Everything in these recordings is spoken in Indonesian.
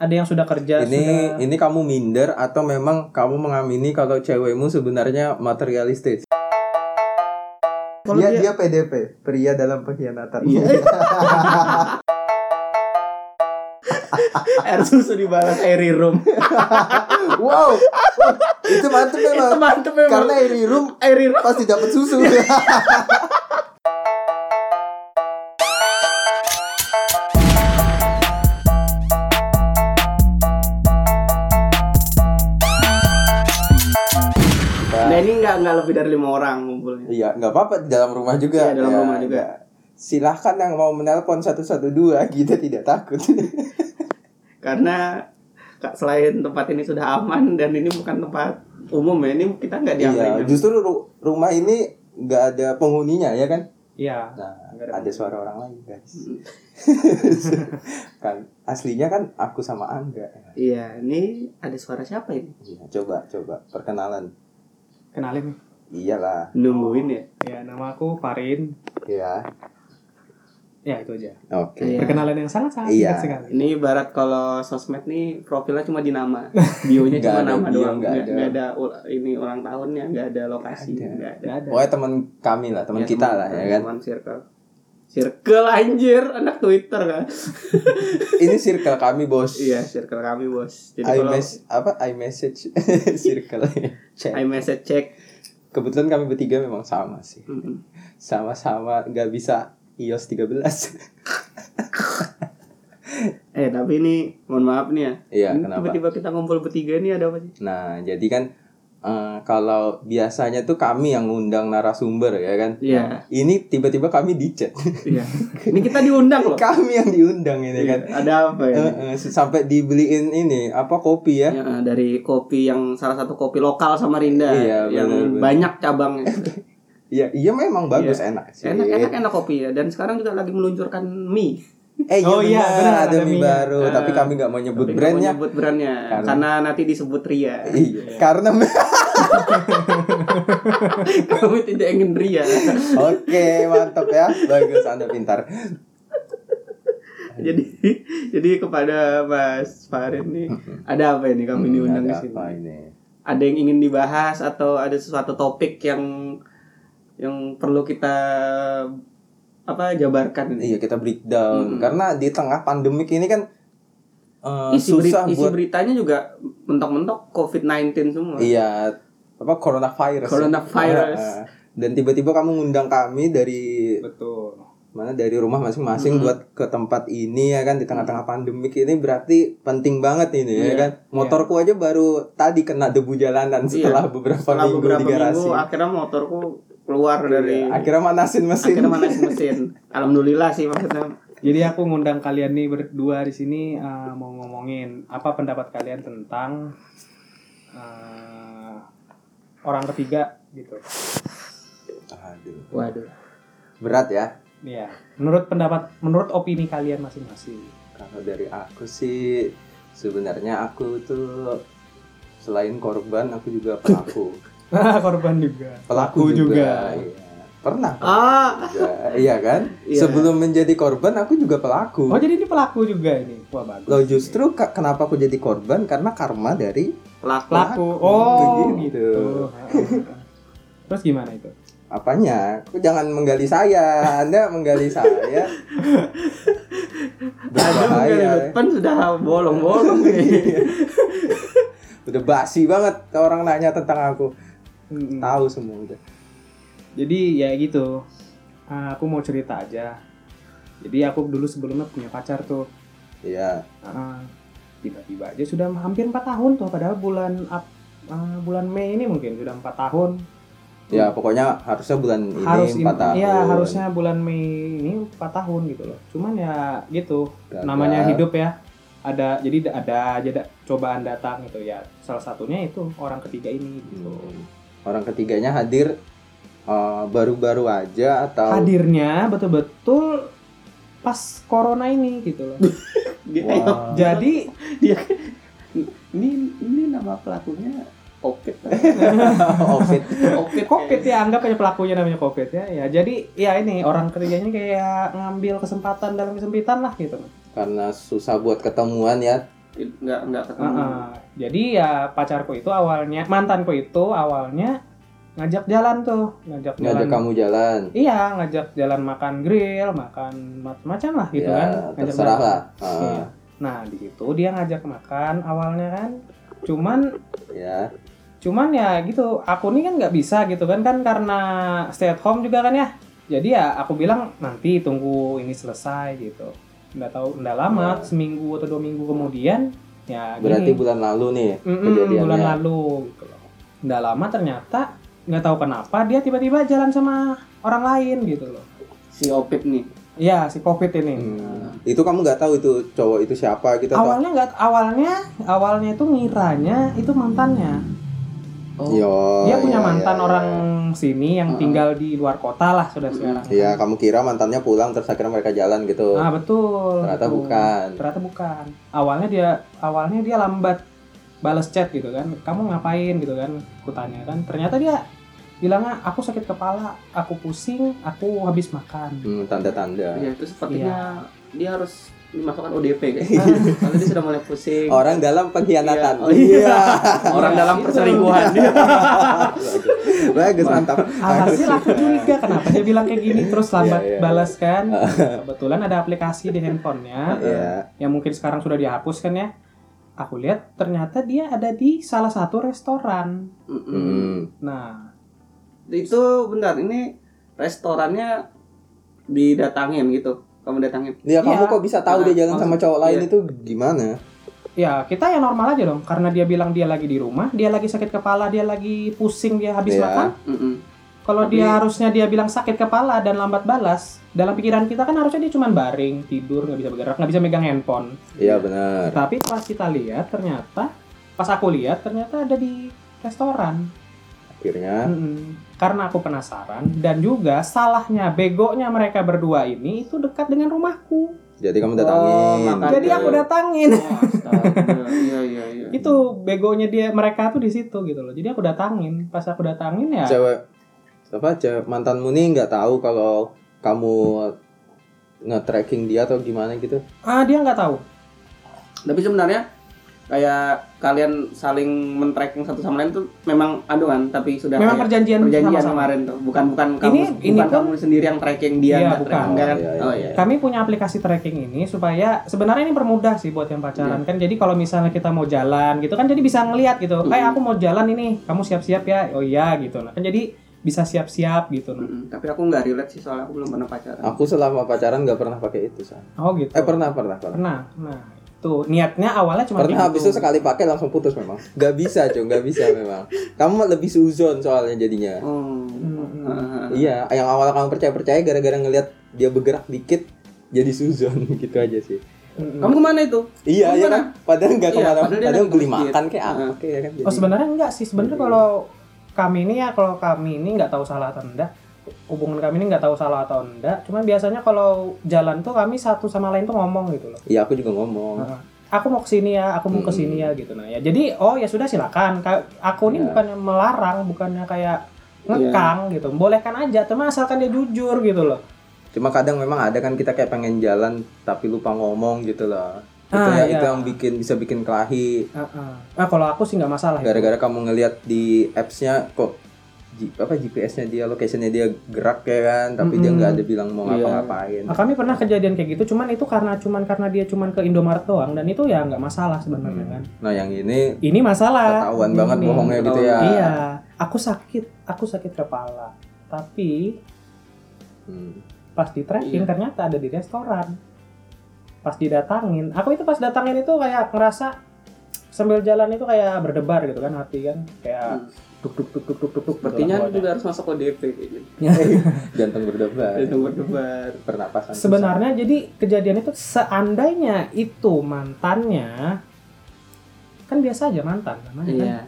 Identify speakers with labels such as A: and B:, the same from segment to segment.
A: Ada yang sudah
B: Iya,
A: kerja,
C: Ini
A: sudah
C: ini kamu minder atau memang kamu mengamini kalau cewekmu sebenarnya materialistis?
A: Kalau
B: dia, Iya, dia
A: dia- Iya.
B: PDP, pria dalam pengkhianatan.
A: air susu dibalas air room.
B: wow, Wah, itu mantep
A: Itu
B: memang.
A: mantep memang.
B: Karena Eri Room
A: air room.
B: pasti dapat susu.
A: Iya. Nah ini nggak nggak lebih dari lima orang ngumpulnya.
C: Iya, nggak apa-apa di dalam rumah juga.
A: Iya, dalam
C: Ya,
A: rumah juga.
C: ya. Silahkan yang mau menelpon 112 kita tidak takut.
A: Iya, Karena Kak, selain tempat ini sudah aman dan ini bukan tempat umum ya, ini kita nggak
C: iya,
A: diapain.
C: justru ru- rumah ini nggak ada penghuninya ya kan?
A: Iya.
C: Nah,
A: Nggak ada Mm.
C: ada suara orang lain guys. kan aslinya kan aku sama Angga.
A: Iya, ini ada suara siapa ini?
C: Iya, coba coba perkenalan.
D: Kenalin.
C: Iyalah,
A: Nungguin ya.
D: Ya, nama aku Farin.
C: ya.
D: Ya, itu aja.
C: Oke.
A: Iya.
D: Perkenalan yang sangat-sangat
C: Iya.
D: singkat sekali.
A: Ini ibarat kalau sosmed nih profilnya cuma di nama, bionya
C: Nggak
A: cuma
C: ada
A: nama
C: bio,
A: doang,
C: nggak
A: nggak
C: ada.
A: nggak ada, ul- ini ulang tahunnya, nggak ada lokasi,
C: Nggak ada.
A: nggak ada.
D: Nggak ada.
C: Pokoknya teman kami lah, teman
A: Ya,
C: kita
A: teman-
C: lah ya kan.
A: Teman circle. Circle anjir, anak Twitter kan.
C: Ini circle kami bos.
A: iya, circle kami, Bos. Jadi
C: I
A: kalau
C: mes apa I message circle chat.
A: iMessage cek.
C: Kebetulan kami bertiga memang sama sih.
A: Mm-mm.
C: Sama-sama nggak bisa iOS 13.
A: Eh, tapi ini mohon maaf nih ya.
C: Iya,
A: Ini
C: kenapa?
A: Tiba-tiba kita ngumpul bertiga ini ada apa sih?
C: Nah, jadi kan eh, kalau biasanya tuh kami yang ngundang narasumber ya kan.
A: Iya.
C: Ini tiba-tiba kami di chat.
A: Iya. ini kita diundang loh.
C: kami yang diundang ini kan.
A: Iya, Ada apa ya?
C: Eh, eh, sampai dibeliin ini apa kopi ya?
A: Ya, eh, dari kopi yang salah satu kopi lokal Samarinda
C: Iya,
A: yang
C: benar, benar.
A: banyak cabangnya.
C: Iya, iya memang bagus enak sih.
A: enak enak enak kopi ya dan sekarang juga lagi meluncurkan mie.
C: Eh, iya,
D: Oh iya,
C: benar,
D: benar,
C: ada
D: ada
C: mie
D: mie-nya.
C: baru,
A: Ah,
C: tapi kami nggak mau nyebut brandnya.
A: Menyebut brandnya
C: Karena-
A: karena, nanti disebut Ria.
C: Iya, karena
A: Kami tidak ingin Ria.
C: Oke, mantap ya. Bagus, Anda pintar.
A: jadi jadi kepada Mas Farid nih ada apa ini kami diundang
C: Ada
A: di sini?
C: apa ini?
A: Ada yang ingin dibahas atau ada sesuatu topik yang yang perlu kita apa jabarkan ini?
C: Iya, kita breakdown.
A: Mm.
C: Karena di tengah pandemik ini kan eh,
A: isi, beri-
C: susah
A: isi
C: buat
A: beritanya juga mentok-mentok COVID-19 semua.
C: iya apa coronavirus. ya.
A: Coronavirus.
C: Ah, ah. Dan tiba-tiba kamu ngundang kami dari
D: Betul.
C: mana dari rumah masing-masing
A: Mm.
C: buat ke tempat ini ya kan di tengah-tengah pandemik ini berarti penting banget ini ya
A: Iya,
C: kan. Motorku aja baru tadi kena debu jalanan setelah beberapa
A: Setelah
C: minggu
A: beberapa
C: di garasi.
A: minggu akhirnya motorku keluar dari
C: Iya, akhirnya manasin mesin.
A: akhirnya manasin mesin. Alhamdulillah sih maksudnya.
D: Jadi aku ngundang kalian nih berdua di sini eh, mau ngomongin apa pendapat kalian tentang eh, orang ketiga gitu.
C: Aduh,
A: Waduh.
C: berat ya.
D: Iya. Menurut pendapat menurut opini kalian masing-masing.
C: Kalau dari aku sih sebenarnya aku tuh selain korban aku juga pelaku.
D: Korban juga.
C: Pelaku
D: Aku
C: juga.
D: juga.
C: Iya. Pernah
A: Ah,
C: juga. Iya kan?
A: Iya.
C: Sebelum menjadi korban aku juga
D: Oh,
C: pelaku.
D: jadi ini pelaku juga ini. Wah, bagus.
C: Loh Oh, justru ka- kenapa aku jadi korban karena karma dari
A: pelaku.
D: pelaku.
C: Pelaku,
D: Oh,
C: begitu.
D: gitu. Terus gimana itu?
C: apanya? Aku jangan menggali saya. Anda menggali saya.
A: Aduh, mungkin
C: Berbahaya.
A: depan sudah bolong-bolong nih.
C: Udah basi banget orang nanya tentang aku.
D: Mm-mm.
C: Tahu semua udah.
D: Jadi ya gitu. Ah, aku mau cerita aja. Jadi aku dulu sebelumnya punya pacar tuh.
C: Iya.
D: Ah, tiba-tiba aja sudah hampir 4 tahun tuh padahal bulan Ap- ah, bulan Mei ini mungkin sudah empat tahun.
C: Ya pokoknya harusnya bulan ini
D: harus
C: empat tahun.
D: Iya, harusnya bulan Mei ini 4 tahun gitu loh. Cuman ya gitu,
C: Gagal.
D: namanya hidup ya ada jadi da- ada aja da- cobaan datang gitu ya salah satunya itu orang ketiga ini gitu
C: Hmm. Orang ketiganya hadir eh, baru-baru aja atau
D: hadirnya betul-betul pas corona ini gitu loh
A: Dia,
C: Wah.
D: jadi
A: dia ini ini nama pelakunya Oke.
C: Covid.
A: Oke
D: covid
C: Iya.
D: ya anggap aja pelakunya namanya covid ya ya jadi ya ini orang ketiganya ini kayak ngambil kesempatan dalam kesempitan lah gitu
C: karena susah buat ketemuan ya
A: nggak nggak ketemu
D: Heeh. Jadi ya pacarku itu awalnya mantanku itu awalnya ngajak jalan tuh, ngajak jalan.
C: ngajak kamu jalan
D: Iya, ngajak jalan makan grill, makan macam-macam lah gitu
C: ya
D: kan. Ngajak
C: terserah
D: makan.
C: lah Ah,
D: Iya. Nah, di situ dia ngajak makan awalnya kan. Cuman
C: ya
D: cuman ya gitu, aku nih kan nggak bisa gitu kan kan karena stay at home juga kan ya. Jadi ya aku bilang nanti tunggu ini selesai gitu. Nggak tahu, nggak
C: Nah.
D: lama, seminggu atau dua minggu kemudian ya
C: berarti
D: gini.
C: bulan lalu nih
D: Mm-mm,
C: kejadiannya
D: Hmm,
C: ya.
D: bulan lalu gitu loh. Nggak lama ternyata nggak tahu kenapa dia tiba-tiba jalan sama orang lain gitu loh.
A: si Opip nih
D: Iya si covid ini.
C: Hmm. itu kamu nggak tahu itu cowok itu siapa gitu atau
D: Awalnya nggak awalnya awalnya itu ngiranya itu mantannya.
A: oh
C: Yo,
D: dia punya
C: ya,
D: mantan
C: ya,
D: orang sini yang
A: Ah.
D: tinggal di luar kota lah sudah sekarang.
C: ya. Iya, kamu kira mantannya pulang terus akhirnya mereka jalan gitu
D: Ah betul.
C: ternyata
D: betul.
C: bukan
D: Ternyata bukan. Awalnya dia awalnya dia lambat balas chat gitu kan. Kamu ngapain gitu kan? Kutanya kan. Ternyata dia bilangnya aku sakit kepala, aku pusing, aku habis makan.
C: Hmm, tanda-tanda
A: ya itu sepertinya dia harus dimasukkan ODP kan karena dia sudah mulai pusing
C: orang dalam
A: Iya. Oh,
C: pengkhianatan
A: iya. orang dalam
D: Iya,
A: perselingkuhan
C: Iya. bagus mantap
D: Alhasil aku curiga kenapa dia bilang kayak gini terus lambat
C: Iya, iya,
D: balas kan. Kebetulan ada aplikasi di handphonenya
C: Iya.
D: yang mungkin sekarang sudah dihapus kan ya. Aku lihat ternyata dia ada di salah satu restoran.
A: Mm-mm.
C: Hmm.
D: Nah,
A: itu bentar ini restorannya didatangin gitu kamu datangin
C: Ya, kamu
D: Iya.
C: kok bisa tahu dia jalan sama cowok lain
A: Iya.
C: itu gimana?
D: ya kita ya normal aja dong karena dia bilang dia lagi di rumah, dia lagi sakit kepala, dia lagi pusing, dia habis
C: Iya.
D: makan.
A: Mm-mm.
D: Kalau
A: Tapi-
D: dia harusnya dia bilang sakit kepala dan lambat balas, dalam pikiran kita kan harusnya dia cuma baring, tidur, nggak bisa bergerak, nggak bisa megang handphone.
C: Iya benar.
D: Tapi pas kita lihat ternyata pas aku lihat ternyata ada di restoran.
C: Akhirnya
D: Mm-mm. Karena aku penasaran dan juga salahnya begonya mereka berdua ini itu dekat dengan rumahku.
C: jadi kamu datangin.
A: Oh, makanya.
D: Jadi aku datangin.
A: Oh, astaga. iya iya iya
D: itu begonya dia mereka tuh di situ gitu loh. Jadi aku datangin. Pas aku datangin ya
C: Cewek apa cewek mantanmu nih nggak tahu kalau kamu nge-tracking dia atau gimana gitu.
D: ah dia nggak tahu.
A: tapi sebenarnya kayak kalian saling men-tracking satu sama lain tuh memang aduan tapi sudah
D: Memang
A: kayak
D: perjanjian,
A: perjanjian
D: sama-sama.
A: kemarin tuh bukan bukan kamu
D: Ini-
A: bukan
D: ini pun-
A: kamu sendiri yang tracking dia
D: Iya,
A: nggak
D: bukan.
A: tracking dia kan
C: Oh, iya, iya,
A: oh iya
D: Kami punya aplikasi tracking ini supaya sebenarnya ini permudah sih buat yang pacaran kan. Jadi kalau misalnya kita mau jalan gitu kan jadi bisa ngelihat gitu.
A: Mm.
D: Kayak aku mau jalan ini, kamu siap-siap ya. Oh iya gitu. Nah, kan jadi bisa siap-siap gitu. Nah.
A: Mm-mm. tapi aku nggak relate sih soalnya aku belum pernah pacaran
C: Aku selama pacaran nggak pernah pakai itu, San.
D: Oh gitu.
C: Eh pernah pernah pernah.
D: Pernah. Nah, tuh niatnya awalnya cuma gitu.
A: gitu.
C: Pernah habis itu sekali pakai langsung putus memang. Gak bisa, Cung, gak bisa memang. Kamu lebih suzon soalnya jadinya.
A: oh Heeh.
C: Iya, yang awal kamu percaya-percaya gara-gara ngelihat dia bergerak dikit jadi suzon gitu aja sih.
A: kamu kemana itu
C: Iya, iya
A: Gimana?
C: kan? Padahal nggak
A: Iya,
C: kemana
A: padahal dia
C: Padahal
A: lagi
C: beli
A: masjid.
C: makan kayak apa
A: Heeh.
C: kayak kan.
D: Oh
C: jadi-
D: sebenarnya enggak sih sebenarnya
C: Jadi-
D: kalau kami ini ya kalau kami ini nggak tahu salah atau enggak hubungan kami ini nggak tahu salah atau enggak cuman biasanya kalau jalan tuh kami satu sama lain tuh ngomong gitu loh
C: Iya, aku juga ngomong.
D: Nah, aku mau kesini ya aku mau kesini ya gitu nah ya jadi oh ya sudah silakan Ka- aku ini
C: Ya.
D: bukannya melarang bukannya kayak
C: Iya.
D: ngekang gitu bolehkan aja teman asalkan dia jujur gitu loh
C: Cuma kadang memang ada kan kita kayak pengen jalan tapi lupa ngomong gitu loh. Itu
D: Ah,
C: ya,
D: iya.
C: itu yang bikin bisa bikin kelahi.
D: Heeh. nah kalau aku sih nggak masalah itu.
C: Gara-gara kamu ngelihat di apps-nya kok G- apa GPS-nya dia, location-nya dia gerak ya kan, tapi dia
D: Mm-mm.
C: nggak ada bilang mau
A: Iya.
C: ngapa-ngapain.
D: Nah, kami pernah kejadian kayak gitu, cuman itu karena cuman karena dia cuman ke Indomaret doang dan itu ya nggak masalah sebenarnya kan.
C: Nah, yang ini
D: Ini masalah.
C: ketahuan banget
D: Ini.
C: bohongnya gitu ya.
D: Iya, aku sakit, aku sakit kepala. Tapi
C: Hmm.
D: pas di tracking
A: Iya.
D: ternyata ada di restoran. Pas didatangin, aku itu pas datangin itu kayak ngerasa sambil jalan itu kayak berdebar gitu kan hati kan kayak
A: Hmm.
D: duk duk duk duk duk duk duk
A: Sepertinya
D: gitu lah
A: juga harus masuk ODP kayak gitu.
C: Jantung berdebar.
A: Itu berdebar.
C: Pernapasan. susah.
D: Sebenarnya jadi kejadian itu seandainya itu mantannya kan biasa aja mantan namanya kan
A: Iya.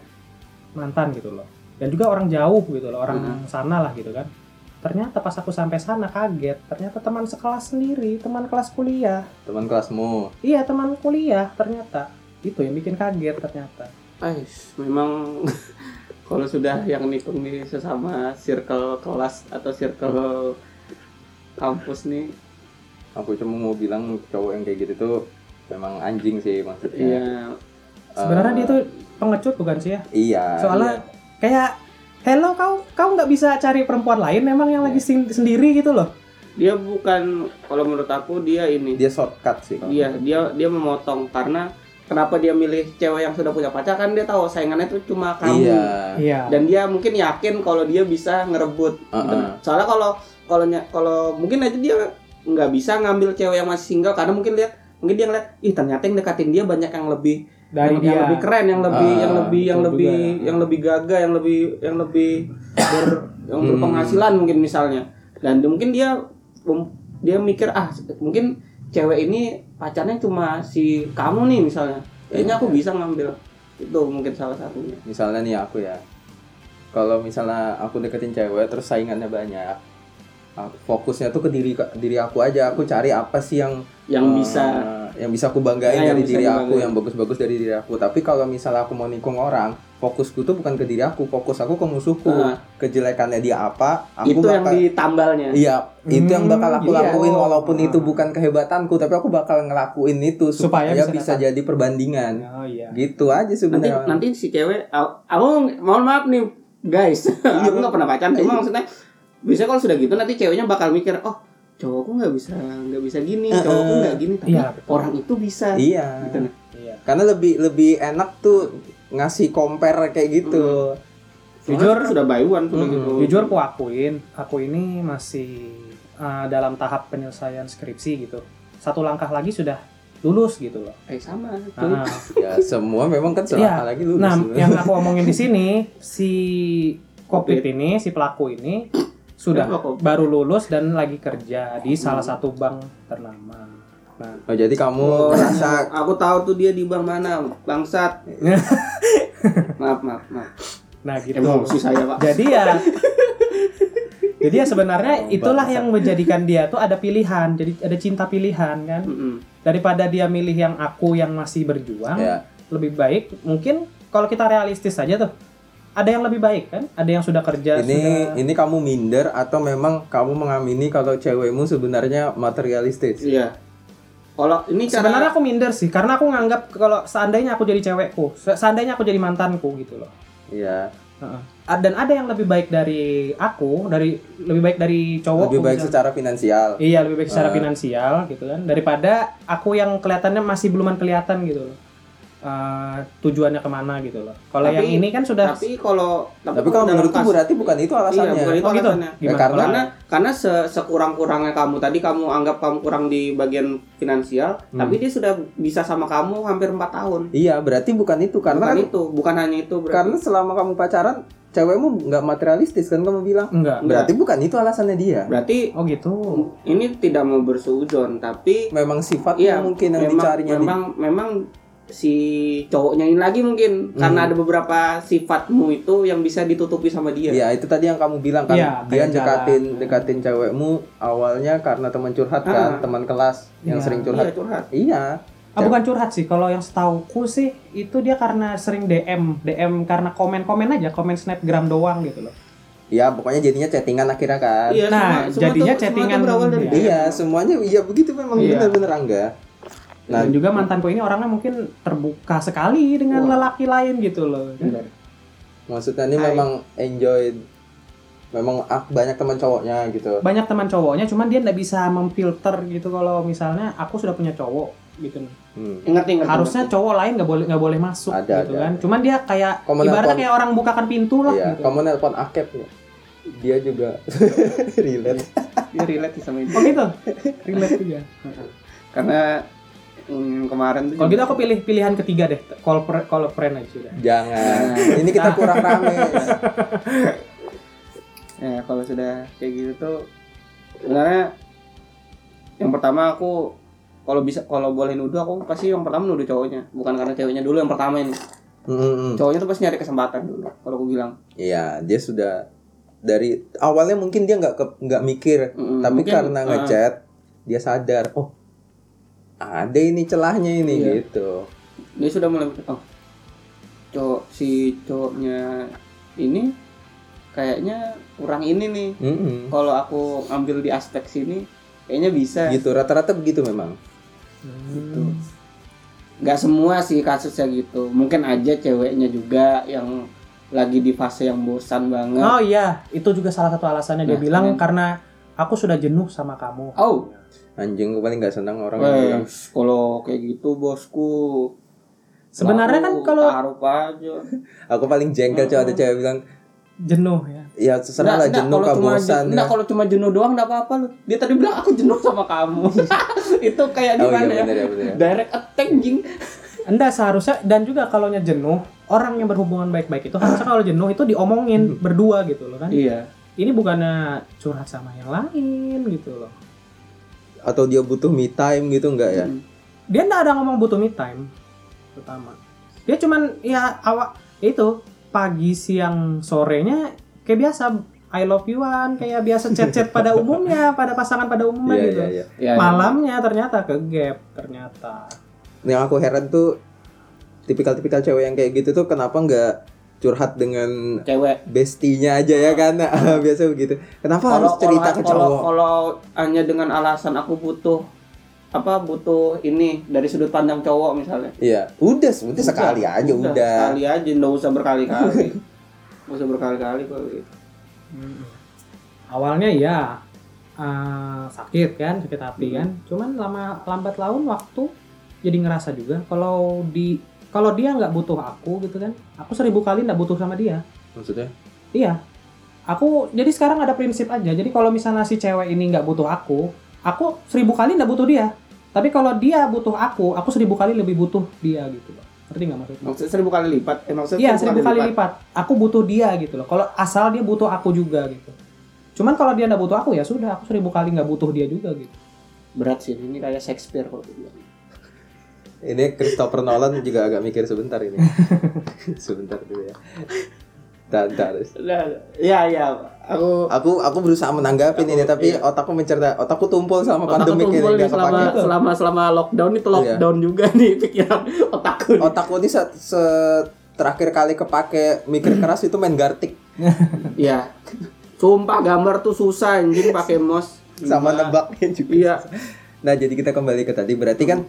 D: mantan gitu loh dan juga orang jauh gitu loh orang
A: Hmm.
D: sana lah gitu kan ternyata pas aku sampai sana kaget ternyata teman sekelas sendiri teman kelas kuliah
C: teman kelasmu.
D: iya teman kuliah ternyata itu yang bikin kaget ternyata
A: Ais, memang kalau sudah yang nikung nih sesama circle kelas atau circle kampus nih
C: aku cuma mau bilang cowok yang kayak gitu tuh memang anjing sih maksudnya.
A: Iya.
C: Eh,
D: Sebenarnya
A: Ah.
D: dia tuh pengecut bukan sih ya?
C: Iya.
D: Soalnya kayak hello kau kau nggak bisa cari perempuan lain memang yang
A: Iya.
D: lagi sing- sendiri gitu loh.
A: Dia bukan kalau menurut aku dia
C: iya.
A: ini.
C: dia shortcut sih. kalau
A: Iya, dia dia memotong karena kenapa dia milih cewek yang sudah punya pacar kan dia tahu saingannya itu cuma
C: menurut aku.
A: kamu.
C: Iya.
D: Iya.
A: Ah. dan dia mungkin yakin kalau dia bisa ngerebut gitu.
C: Uh-uh.
A: soalnya kalau kalau nya- kalau mungkin aja dia nggak bisa ngambil cewek yang masih single karena mungkin lihat mungkin dia ngeliat ih ternyata yang deketin dia banyak yang lebih
D: Dari
A: yang,
D: dia.
A: yang lebih keren yang lebih
C: Ah,
A: yang lebih yang
D: betul
A: lebih
D: juga ya.
A: yang lebih gagah yang lebih yang lebih ber- yang
C: Hmm.
A: berpenghasilan mungkin misalnya dan di- mungkin dia mem- dia mikir ah mungkin cewek ini pacarnya cuma si kamu nih misalnya kayaknya
D: Iya.
A: aku bisa ngambil itu mungkin salah satunya
C: Misalnya nih aku ya. Kalau misalnya aku deketin cewek terus saingannya banyak. aku- fokusnya tuh ke diri diri aku aja. Aku cari apa sih yang
A: yang
D: Ah,
C: eh,
A: bisa
C: yang bisa aku banggain
A: Ya, yang
C: dari
A: bisa
C: diri aku,
A: dibanggain.
C: yang bagus-bagus dari diri aku. Tapi kalau misalnya aku mau nikung orang, fokusku tuh bukan ke diri aku, fokus aku ke musuhku.
A: Ah.
C: Kejelekannya dia apa, aku
A: itu yang
C: bakal
A: ditambalnya.
C: Iya, itu yang bakal aku
D: Hmm, iya.
C: lakuin walaupun
D: Oh.
C: itu
A: Ah.
C: bukan kehebatanku, tapi aku bakal ngelakuin itu supaya,
D: Supaya bisa
C: bisa,
D: dapat.
C: jadi perbandingan.
D: Oh iya.
C: Gitu aja
A: Nanti
C: sebenarnya.
A: nanti si cewek, aku- aku mohon maaf nih guys,
D: Iya.
A: aku nggak pernah pacaran. Cuma maksudnya, biasanya kalau sudah gitu nanti ceweknya bakal mikir, oh cowokku nggak bisa nggak bisa gini, cowokku nggak gini, tapi
D: Iya, betul.
A: orang itu bisa.
C: Iya.
A: Gitu nah.
D: Iya.
C: Karena lebih lebih enak tuh ngasih compare kayak gitu.
A: Soalnya
D: Jujur,
A: sudah bayuan sudah
C: Mm-mm.
A: gitu.
D: Jujur aku akuin, aku ini masih eh, dalam tahap penyelesaian skripsi gitu. Satu langkah lagi sudah lulus gitu loh.
A: eh sama. cuy.
D: Nah,
C: Ya, semua memang kan
D: Iya.
C: salah lagi lulus.
D: nah,
C: lulus.
D: yang aku omongin di sini si covid ini, si pelaku ini sudah
A: Kenapa Covid?
D: baru lulus dan lagi kerja di salah satu bank ternama. Nah,
C: Oh, jadi kamu
A: Iya.
C: rasa
A: Aku tahu tuh dia di bank mana, bangsat. maaf maaf maaf.
D: nah gitu.
A: Emosi saya pak.
D: Jadi ya Jadi ya sebenarnya itulah yang menjadikan dia tuh ada pilihan. Jadi ada cinta pilihan kan.
A: Mm-mm.
D: Daripada dia milih yang aku yang masih berjuang,
C: ya,
D: lebih baik mungkin kalau kita realistis aja tuh. Ada yang lebih baik kan? Ada yang sudah kerja
C: ini
D: sudah
C: ini kamu minder atau memang kamu mengamini kalau cewekmu sebenarnya materialistis?
A: Iya. Kalau ini cara-
D: Sebenarnya aku minder sih karena aku nganggap kalau seandainya aku jadi cewekku, se- seandainya aku jadi mantanku gitu loh.
C: Iya.
D: A- Dan ada yang lebih baik dari aku, dari lebih baik dari cowok.
C: Lebih baik secara finansial.
D: Iya lebih baik
C: Ah.
D: secara finansial gitu kan daripada aku yang kelihatannya masih belum kelihatan gitu loh Eh, tujuannya kemana gitu loh. Kalau
A: Tapi-
D: yang ini kan sudah
A: tapi kalau
C: Tapi kalau
A: dalam
C: menurutku
A: kas-
C: berarti bukan itu
A: Iya, bukan
C: alasannya.
A: itu
D: Oh, gitu?
A: alasannya.
D: gimana?
C: karena-
A: karena karena se- sekurang-kurangnya kamu tadi kamu anggap kamu kurang di bagian finansial
C: Hmm.
A: tapi dia sudah bisa sama kamu hampir 4 tahun
C: Iya, berarti bukan itu karena
A: bukan
C: kan-
A: itu bukan hanya itu berarti.
C: karena selama kamu pacaran cewekmu nggak materialistis kan kamu bilang.
A: Iya.
D: enggak.
C: Berarti bukan itu alasannya dia.
A: berarti
D: Oh gitu.
A: ini tidak mau bersujon tapi
C: Memang sifatnya
A: iya
C: mungkin yang
A: memang
C: dicarinya di-
A: memang memang si cowoknya ini lagi
C: Hmm.
A: mungkin karena ada beberapa sifatmu itu yang bisa ditutupi sama dia
C: Iya, itu tadi yang kamu bilang kan.
D: Iya,
C: dia
D: kayak
C: dekatin
D: jalan.
C: dekatin cewekmu awalnya karena teman curhat
A: Ah.
C: kan, teman kelas yang
D: Iya.
C: sering
A: Iya,
C: curhat.
A: curhat
C: Iya.
D: Ah, bukan curhat sih. Kalau yang setauku sih itu dia karena sering DM, DM karena komen-komen aja, komen snapgram doang gitu loh.
C: Ya, pokoknya jadinya chattingan akhirnya kan.
A: Iya,
D: Nah, jadinya
A: tuh- semua tuh
D: chattingan.
A: berawal dari
D: Iya.
A: dia.
C: Iya, semuanya iya begitu memang
D: Iya.
C: bener-bener Angga. Nah,
D: Dan juga mantanku ini orangnya mungkin terbuka sekali dengan
A: Wah.
D: lelaki lain gitu loh.
C: Hmm.
A: Bener.
C: maksudnya ini
A: Hai.
C: memang enjoy memang ah, banyak teman cowoknya gitu.
D: Banyak teman cowoknya, cuman dia nggak bisa memfilter gitu kalau misalnya aku sudah punya cowok gitu.
C: Hmm.
A: ngerti ngerti
D: harusnya
A: ngerti.
D: cowok lain nggak boleh nggak boleh masuk
C: Ada,
D: gitu
C: ada,
D: kan
C: ada.
D: cuman dia kayak
C: Kamu
D: ibaratnya
C: nelpon-
D: kayak orang bukakan pintu lah
C: Iya,
D: gitu
C: kamu nelpon Akep ya? Dia juga relate.
A: dia relate sama ini
D: oh gitu relate juga
A: karena mm, kemarin tuh
D: kalau
A: juga-
D: gitu aku pilih pilihan ketiga deh call per- call a friend aja sudah
C: Jangan. Ini kita
D: Nah.
C: kurang rame.
A: ya kalau sudah kayak gitu tuh sebenarnya yang pertama aku kalau bisa kalau boleh nuduh aku pasti yang pertama nuduh cowoknya bukan karena ceweknya dulu yang pertama ini
C: Mm-mm.
A: cowoknya tuh pasti nyari kesempatan dulu kalau aku bilang
C: Iya, dia sudah dari awalnya mungkin dia nggak ke- nggak mikir,
A: Mm-mm.
C: tapi
A: Mungkin,
C: karena
A: ah,
C: ngechat dia sadar, oh ada ini celahnya ini
A: Iya.
C: gitu.
A: dia sudah mulai mikir, oh cowok si cowoknya ini kayaknya kurang ini nih
C: Mm-mm.
A: kalau aku ambil di aspek sini kayaknya bisa
C: Gitu rata-rata begitu memang.
D: Hmm.
A: nggak semua sih kasusnya gitu mungkin aja ceweknya juga yang lagi di fase yang bosan banget
D: Oh iya, itu juga salah satu alasannya
A: Nah,
D: dia bilang
A: kan.
D: karena aku sudah jenuh sama kamu.
A: oh
C: Anjing gue paling gak senang orang yang
A: weh,
C: bilang
A: Oh, eh, kalau kayak gitu bosku
D: Sebenarnya kan
A: baru
D: kalau
A: taruh aja
C: aku paling jengkel cewek ada cewek bilang
D: jenuh ya.
C: ya terserah lah jenuh
A: Oh. kalau
C: kah
A: cuma
C: bosan ya."
A: enggak kalau cuma jenuh doang enggak apa-apa lu. Dia tadi bilang aku jenuh sama kamu. itu kayak
C: Oh iya
A: gimana ya?
C: bener ya bener ya.
A: Direct attack jing.
D: Anda seharusnya dan juga kalau nya jenuh, orang yang berhubungan baik-baik itu harusnya kalau jenuh itu diomongin berdua gitu loh kan.
A: Iya.
D: Ini bukannya curhat sama yang lain gitu loh.
C: Atau dia butuh me time gitu
A: Iya,
C: enggak ya?
D: Dia nggak ada ngomong butuh me time pertama. Dia cuman ya awak itu pagi siang sorenya kayak biasa I love you-an kayak biasa chat-chat pada umumnya, pada pasangan pada umumnya
C: Iya
D: gitu.
C: iya iya.
A: Iya, iya.
D: Malamnya ternyata ke gap ternyata.
C: Yang aku heran tuh tipikal-tipikal cewek yang kayak gitu tuh kenapa nggak curhat dengan
A: cewek.
C: bestinya aja ya kan biasa begitu kenapa harus
A: Ah. Kalau
C: cerita
A: kalau
C: ke
A: kalau
C: cowok
A: kalau hanya dengan alasan aku butuh apa butuh ini dari sudut pandang cowok misalnya.
C: iya udah sebetulnya sekali aja udah,
A: Sekali aja enggak usah berkali-kali. Enggak usah berkali-kali gitu. kok.
D: Awalnya ya eh, sakit kan, sakit hati kan. Cuman lama lambat laun waktu jadi ngerasa juga kalau di kalau dia nggak butuh aku gitu kan, aku seribu kali nggak butuh sama dia.
C: maksudnya
D: Iya, aku jadi sekarang ada prinsip aja. Jadi kalau misalnya si cewek ini nggak butuh aku, aku seribu kali nggak butuh dia. Tapi kalau dia butuh aku, aku seribu kali lebih butuh dia gitu loh. Ngerti nggak maksudnya?
A: Maksudnya seribu kali lipat. Eh, maksudnya
C: kan
D: Iya seribu kali lipat. Aku butuh dia gitu loh. Kalau asal dia butuh aku juga gitu. Cuman kalau dia nggak butuh aku ya sudah. Aku seribu kali nggak butuh dia juga gitu.
A: Berat sih ini kayak Shakespeare kalau aku bilang.
C: ini Christopher Nolan juga agak mikir sebentar ini sebentar dulu ya dan
A: Lah, ya ya, aku
C: aku aku iya. berusaha menanggapi ini tapi otakku mencerna otakku tumpul sama
A: otakku
C: pandemi ini
A: tumpul nih
C: nggak
A: selama
C: kepake Iya.
A: selama selama lockdown itu lockdown juga nih pikiran otakku nih.
C: otakku ini saat se- terakhir kali kepake mikir keras itu main gartik
A: Iya. Sumpah gambar tuh susah anjing pakai mouse.
C: sama
A: Gimana?
C: nebaknya juga
A: Iya.
C: Nah, jadi kita kembali ke tadi. Berarti kan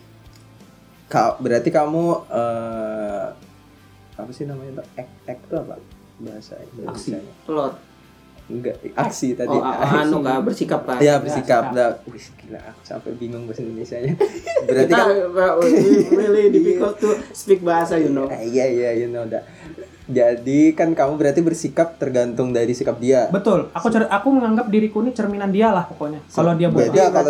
A: Hmm.
C: ka, berarti kamu eh apa sih namanya? Tuh? Ek ek itu apa? Bahasa Indonesia.
A: Telur.
C: Enggak, aksi tadi.
A: Oh, a- anu nggak bersikap kan.
C: Ya, bersikap.
D: bersikap.
C: Nah, wih, gila, aku sampai bingung bahasa Indonesianya. Berarti
A: Kita
C: kan
A: we- really difficult to speak bahasa you know.
C: Ah, iya iya you know that. Jadi kan kamu berarti bersikap tergantung dari sikap dia.
D: Betul. Aku cer- aku menganggap diriku ini cerminan dia lah pokoknya. Kalau dia
C: Beda
D: butuh.
C: kalau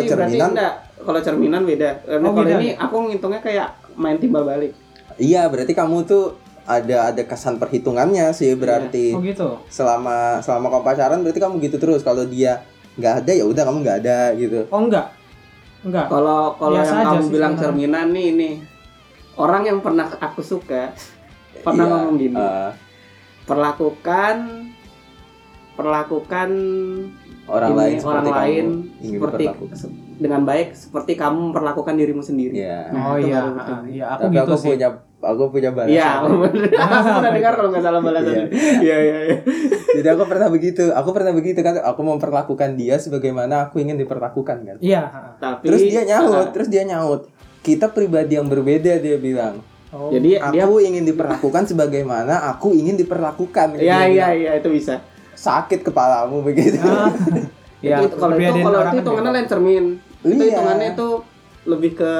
A: Oh,
C: cerminan- ya?
A: enggak. Kalau cerminan beda. Karena
D: Oh,
A: kalau
D: beda
A: ini aku ngitungnya kayak main timbal balik.
C: Iya, berarti kamu tuh ada ada kesan perhitungannya sih berarti.
A: Iya.
D: Oh gitu.
C: selama selama kamu pacaran berarti kamu gitu terus kalau dia nggak ada ya udah kamu nggak ada gitu
D: Oh enggak. Enggak.
A: Kalau kalau
D: Biasa
A: yang
D: aja
A: kamu
D: sih
A: bilang
D: sebenarnya.
A: cerminan nih ini orang yang pernah aku suka pernah
C: Iya,
A: ngomong gini.
C: eh,
A: perlakukan perlakukan
C: orang
A: ini
C: lain
A: orang
C: seperti
A: lain
C: kamu ingin
A: seperti
C: diperlakukan.
A: se- dengan baik seperti kamu memperlakukan dirimu sendiri.
C: Iya.
D: Oh
A: itu
D: iya.
A: baru betul.
D: ah, Iya aku
C: tapi
D: gitu
C: aku
D: sih.
C: punya aku punya balasan
A: Iya, bener. Aku pernah dengar kalau nggak salah balasannya. Iya, iya, iya.
C: jadi aku pernah begitu aku pernah begitu kan aku memperlakukan dia sebagaimana aku ingin diperlakukan kan
D: Iya. ah, ah.
A: Tapi
C: terus dia nyaut terus dia nyaut kita pribadi yang berbeda dia bilang
D: Oh.
A: Jadi Iya, dia ya,
C: aku ingin diperlakukan sebagaimana aku ingin diperlakukan
A: Iya,
C: Dia
A: iya,
C: bilang,
A: iya, itu bisa.
C: sakit kepalamu begitu
D: Ah. Iya.
A: Itu- kalau itu
D: perbedaan
A: kalau
D: orang
A: itu
D: kan
A: hitungannya
D: beda.
A: lain cermin. Itu
C: Iya.
A: hitungannya itu lebih ke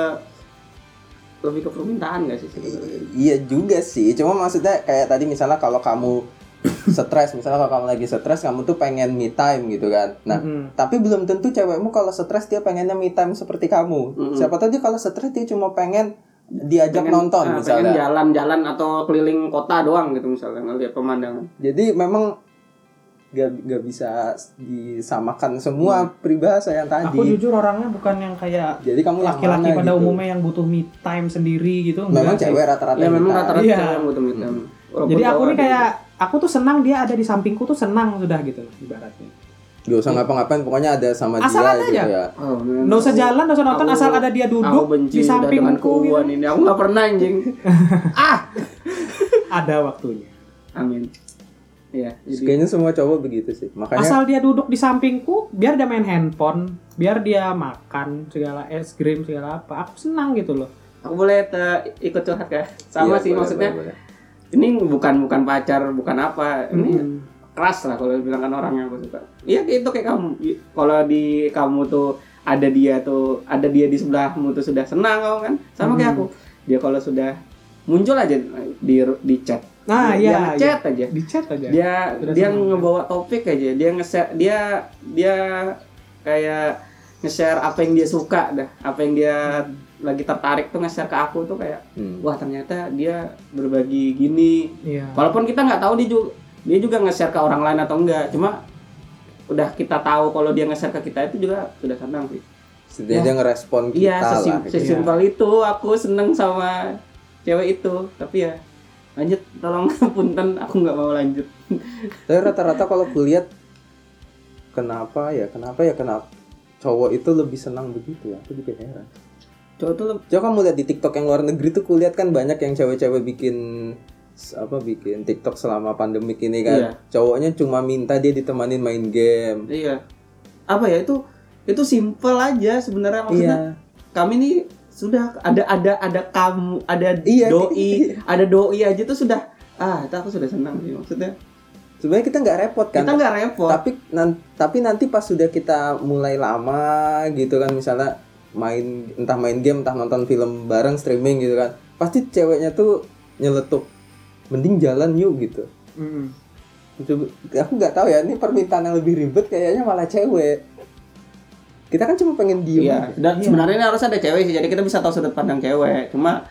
A: lebih ke permintaan nggak sih sebenarnya?
C: Iya juga sih, cuma maksudnya kayak tadi misalnya kalau kamu stres, misalnya kalau kamu lagi stres, kamu tuh pengen me time gitu kan. Nah,
D: Mm-mm.
C: tapi belum tentu cewekmu kalau stres dia pengennya me time seperti kamu.
A: Mm-mm.
C: Siapa tahu dia kalau stres dia cuma pengen diajak
A: Pengen-
C: nonton
A: ah,
C: misalnya.
A: pengen jalan-jalan atau keliling kota doang gitu misalnya ngelihat pemandangan.
C: Jadi memang gak, gak bisa disamakan semua peribahasa yang tadi.
D: Mm. Aku jujur orangnya bukan yang kayak
C: Jadi kamu yang
D: laki-laki
C: mana
D: pada
C: gitu?
D: umumnya yang butuh me time sendiri gitu. enggak
C: Memang
D: sih.
C: cewek rata-rata gitu.
A: Ya
C: me
A: memang
C: time.
A: rata-rata
D: Iya.
A: yang butuh me
C: Hmm.
A: time. ya. Walaupun gitu.
D: Jadi aku
A: cowok
D: nih
A: ada
D: kayak aku tuh senang dia ada di sampingku tuh senang sudah gitu ibaratnya.
C: Gak usah ngapa-ngapain, pokoknya ada sama
D: Asal
C: dia
D: ada
C: gitu
D: aja.
C: ya.
A: yang- Oh, memang.
D: Nggak usah jalan, nggak usah nonton
A: Aku-
D: asal ada dia
A: Aku
D: duduk
A: benci udah
D: di
A: dengan
D: sampingku gitu.
A: keuuan ini. Aku nggak pernah anjing.
D: Ada waktunya.
A: Amin. Iya. Jadi
C: Kayaknya semua cowok begitu sih. Makanya
D: Asal dia duduk di sampingku, biar dia main handphone, biar dia makan segala es krim segala apa, aku senang gitu loh.
A: Aku boleh te- ikut curhat ya? Sama
C: Iya,
A: sih
C: boleh,
A: maksudnya.
C: boleh, boleh.
A: Ini bukan bukan pacar, bukan apa. Ini
D: Hmm.
A: keras lah kalau bilang kan orang yang aku suka iya kayak- itu kayak kamu I- kalau di kamu tuh ada dia tuh ada dia di sebelahmu tuh sudah senang kamu kan sama kayak
D: Hmm.
A: aku dia kalau sudah muncul aja di di chat dia
D: Nah, iya. iya.
A: chat aja
D: Di chat aja.
A: dia
D: Sudah
A: dia
D: senang.
A: ngebawa topik aja dia nge-share dia dia kayak nge-share apa yang dia suka dah apa yang dia
D: Hmm.
A: lagi tertarik tuh nge-share ke aku tuh kayak
C: Hmm.
A: wah ternyata dia berbagi gini
D: Iya.
A: Walaupun kita nggak tahu dia juga dia juga nge-share ke orang lain atau enggak, cuma udah kita tahu kalau dia nge-share ke kita itu juga sudah senang sih.
C: Setidaknya dia ngerespon kita
A: Iya, sesim-
C: lah. gitu.
A: sesimpel itu aku seneng sama cewek itu, tapi ya lanjut tolong punten aku nggak mau lanjut.
C: Tapi rata-rata kalau kulihat kenapa ya kenapa ya kenapa cowok itu lebih senang begitu ya? Aku juga heran.
A: Cowok tuh
C: Coba kamu lihat di TikTok yang luar negeri tuh kulihat kan banyak yang cewek-cewek bikin s- apa bikin TikTok selama pandemik ini kan.
A: Iya.
C: Cowoknya cuma minta dia ditemanin main game.
A: iya. Apa ya itu itu simple aja sebenarnya maksudnya.
C: Iya.
A: Kami nih sudah ada ada ada kamu, ada
C: Iya.
A: doi, ada doi aja tuh sudah ah, itu aku sudah senang sih maksudnya.
C: Sebenarnya kita nggak repot kan.
A: Kita nggak repot.
C: tapi nan- tapi nanti pas sudah kita mulai lama gitu kan misalnya main entah main game entah nonton film bareng streaming gitu kan pasti ceweknya tuh nyeletuk mending jalan yuk gitu
D: Mm.
C: Coba- aku nggak tahu ya ini permintaan yang lebih ribet kayaknya malah cewek kita kan cuma pengen diem
A: Iya,
C: aja.
A: dan sebenarnya ini harus ada cewek sih, jadi kita bisa tahu sudut pandang cewek. Cuma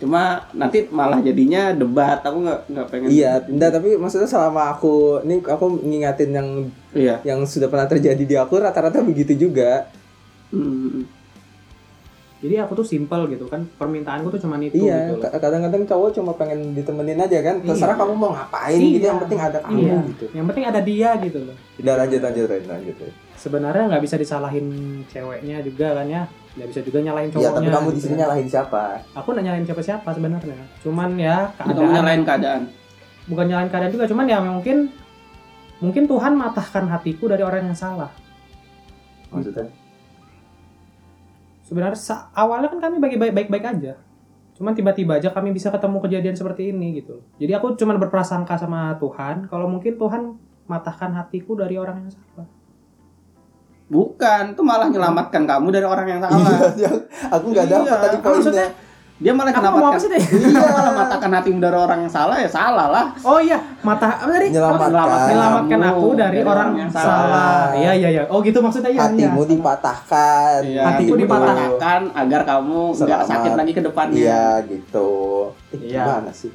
A: cuma nanti malah jadinya debat. Aku nggak nggak pengen.
C: iya enggak tapi maksudnya selama aku ini aku ngingatin yang
A: Iya.
C: yang sudah pernah terjadi di aku rata-rata begitu juga
A: Hmm.
D: Jadi aku tuh simple gitu kan. Permintaanku tuh cuman itu
C: Iya,
D: gitu loh.
C: ka- kadang-kadang cowok cuma pengen ditemenin aja kan. Terserah
D: Iya.
C: kamu mau ngapain gitu,
D: Iya.
C: yang penting ada kamu
D: Iya.
C: gitu.
D: Yang penting ada dia gitu loh.
C: Udah lanjut lanjut Ren, lanjut. Iya, Ren.
D: Sebenarnya nggak bisa disalahin ceweknya juga kan ya. Nggak bisa juga nyalahin
C: Iya,
D: cowoknya.
C: tapi kamu di
D: gitu
C: sini
D: kan.
C: nyalahin siapa?
D: Aku nggak nyalahin siapa-siapa sebenarnya. Cuman ya
A: Atau
D: keadaan
A: menyalahin keadaan.
D: bukan nyalahin keadaan juga cuman ya mungkin mungkin Tuhan matahkan hatiku dari orang yang salah
C: Maksudnya?
D: sebenarnya sa- awalnya kan kami bagi baik- baik-baik aja cuman tiba-tiba aja kami bisa ketemu kejadian seperti ini gitu jadi aku cuman berprasangka sama Tuhan kalau mungkin Tuhan matahkan hatiku dari orang yang salah
A: Bukan, itu malah menyelamatkan kamu dari orang yang
C: Iya,
A: salah.
C: iya. aku nggak
A: Iya.
C: dapat
A: Ah,
C: tadi poinnya.
A: maksudnya- Dia malah
D: aku mau apa
A: menyelamatkan.
D: sih tadi?
A: Iya, malah matakan hatimu dari orang yang salah ya salah lah.
D: oh iya mata apa tadi
C: Menyelamatkan.
D: Apa? menyelamatkan aku dari orang yang salah iya iya iya oh gitu maksudnya iya iya.
C: Hatimu dipatahkan.
A: Iya,
D: Hatiku
A: hatimu
D: dipatahkan.
A: dipatahkan agar kamu nggak
C: Selamat.
A: sakit lagi ke depannya.
C: Iya, gitu. Eh,
D: Iya.
C: Gimana sih?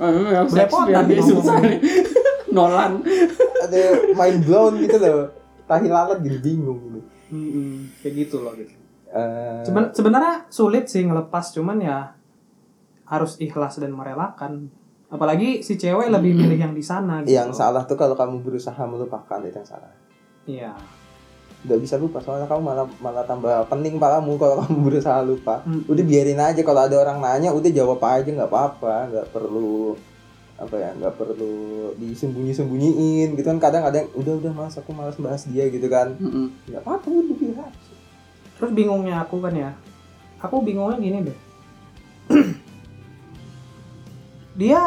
A: Oh, memang
D: Belepotan
A: Shakespeare dia
D: ngomong.
A: susah nih. Nolan.
C: Ada mind blown gitu loh. Tahi lalat jadi bingung ini.
D: Mm-mm. kayak gitu loh gitu
C: Eh,
D: Seben- sebenarnya sulit sih ngelepas cuman ya harus ikhlas dan merelakan. Apalagi si cewek lebih milih yang di sana gitu.
C: yang salah tuh kalau kamu berusaha melupakan itu yang salah.
D: Iya.
C: nggak bisa lupa soalnya kamu malah malah tambah pening palamu kalau kamu berusaha lupa
D: Hmm.
C: udah biarin aja kalau ada orang nanya udah jawab aja nggak apa-apa nggak perlu apa ya nggak perlu disembunyi-sembunyiin gitu kan kadang kadang udah udah mas aku malas bahas dia gitu kan
A: Mm-mm.
C: nggak apa-apa udah bilang
D: Terus bingungnya aku kan ya. Aku bingungnya gini deh. Dia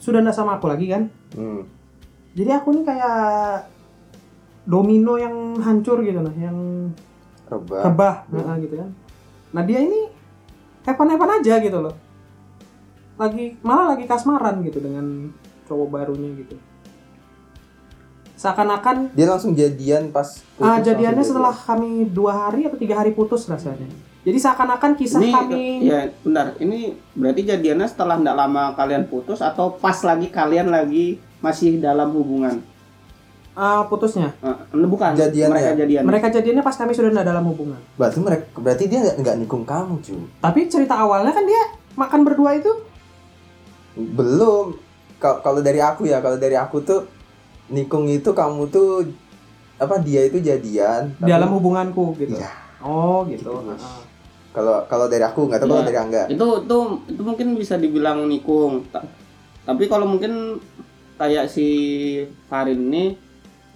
D: sudah nggak sama aku lagi kan.
C: hmm.
D: Jadi aku nih kayak domino yang hancur gitu loh, yang
C: rebah
D: rebah
C: Hmm.
D: nah, gitu kan nah dia ini hepan-hepan aja gitu loh lagi malah lagi kasmaran gitu dengan cowok barunya gitu seakan-akan
C: dia langsung jadian pas putus
D: ah,
C: langsung gitu.
D: jadiannya
C: jadian.
D: setelah kami dua hari atau tiga hari putus rasanya jadi seakan-akan kisah
A: ini
D: kami
A: ya
C: iya.
A: bentar ini berarti jadiannya setelah tidak lama kalian putus atau pas lagi kalian lagi masih dalam hubungan
D: ah, putusnya
A: Eh, bukan
C: Jadian
A: mereka
C: ya?
A: jadian
D: mereka jadiannya pas kami sudah tidak dalam hubungan
C: berarti mereka berarti dia nggak nggak nikung kamu cuy
D: tapi cerita awalnya kan dia makan berdua itu
C: belum Ka- kalau dari aku ya kalau dari aku tuh nikung itu kamu tuh apa dia itu jadian tapi-
D: dalam hubunganku gitu
C: Iya.
D: oh gitu
C: Gitu, Mas.
D: Ah.
C: kalau kalau dari aku nggak tahu kalau
A: Iya.
C: dari angga
A: itu itu itu mungkin bisa dibilang nikung Ta- tapi kalau mungkin kayak si Farin ini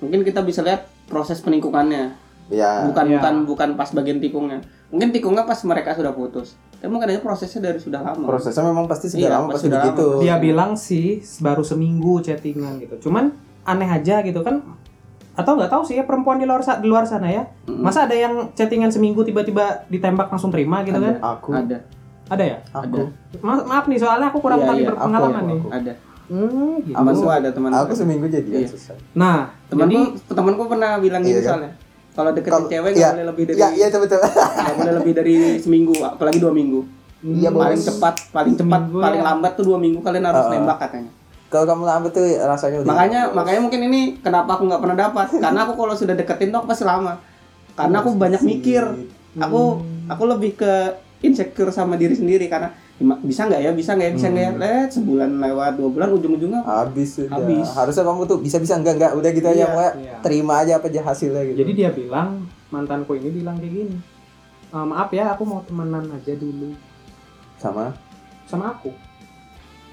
A: mungkin kita bisa lihat proses peningkungannya
C: ya
A: bukan
D: Iya.
A: bukan bukan pas bagian tikungnya Mungkin tikungnya pas mereka sudah putus. Tapi mungkin aja prosesnya dari sudah lama.
C: prosesnya memang pasti sudah
A: Iya,
C: lama
A: pasti
C: pasti
A: sudah
C: begitu
A: lama.
D: dia bilang sih baru seminggu chattingan gitu cuman aneh aja gitu kan atau nggak tahu sih ya perempuan di luar sa- di luar sana ya
A: Mm-mm.
D: masa ada yang chattingan seminggu tiba-tiba ditembak langsung terima gitu kan
A: Ada.
C: aku
A: Ada,
D: ada ya
C: aku
D: Ma- maaf nih soalnya aku kurang
A: Iya,
D: tadi
A: iya,
C: aku,
D: berpengalaman
C: aku,
D: nih
C: aku.
A: ada.
D: Hmm, gitu.
C: Apa
A: Teman
C: sih?
A: gua ada teman.
C: aku
A: gua.
C: seminggu jadi
A: Iya.
C: susah
D: nah
A: temanku
D: jadi
A: temanku pernah bilang gitu
B: Iya, kan?
A: soalnya kalau deketin
B: Kalau-
A: cewek
B: iya.
A: nggak boleh lebih dari
B: Ya, iya betul.
A: nggak boleh lebih dari seminggu apalagi dua minggu
B: Iya,
D: hmm,
A: paling cepat paling cepat
D: Seminggu
A: paling
D: ya.
A: lambat tuh dua minggu kalian harus
C: Uh-uh.
A: nembak katanya
C: kalau kamu lambat tuh rasanya udah
A: makanya makanya mungkin ini kenapa aku nggak pernah dapat karena aku kalau sudah deketin tuh aku pasti lama karena aku banyak mikir aku
D: Hmm.
A: aku lebih ke insecure sama diri sendiri karena "Ima- bisa nggak ya bisa nggak ya bisa nggak
D: Hmm.
A: ya Let, sebulan lewat dua bulan ujung-ujungnya
C: habis sudah
A: Habis.
C: harusnya kamu tuh bisa bisa enggak enggak udah gitu aja
A: Iya,
C: pokoknya
D: iya.
C: terima aja apa aja hasilnya gitu
D: jadi dia bilang mantanku ini bilang kayak gini "Eh, maaf ya aku mau temenan aja dulu
C: sama
D: sama aku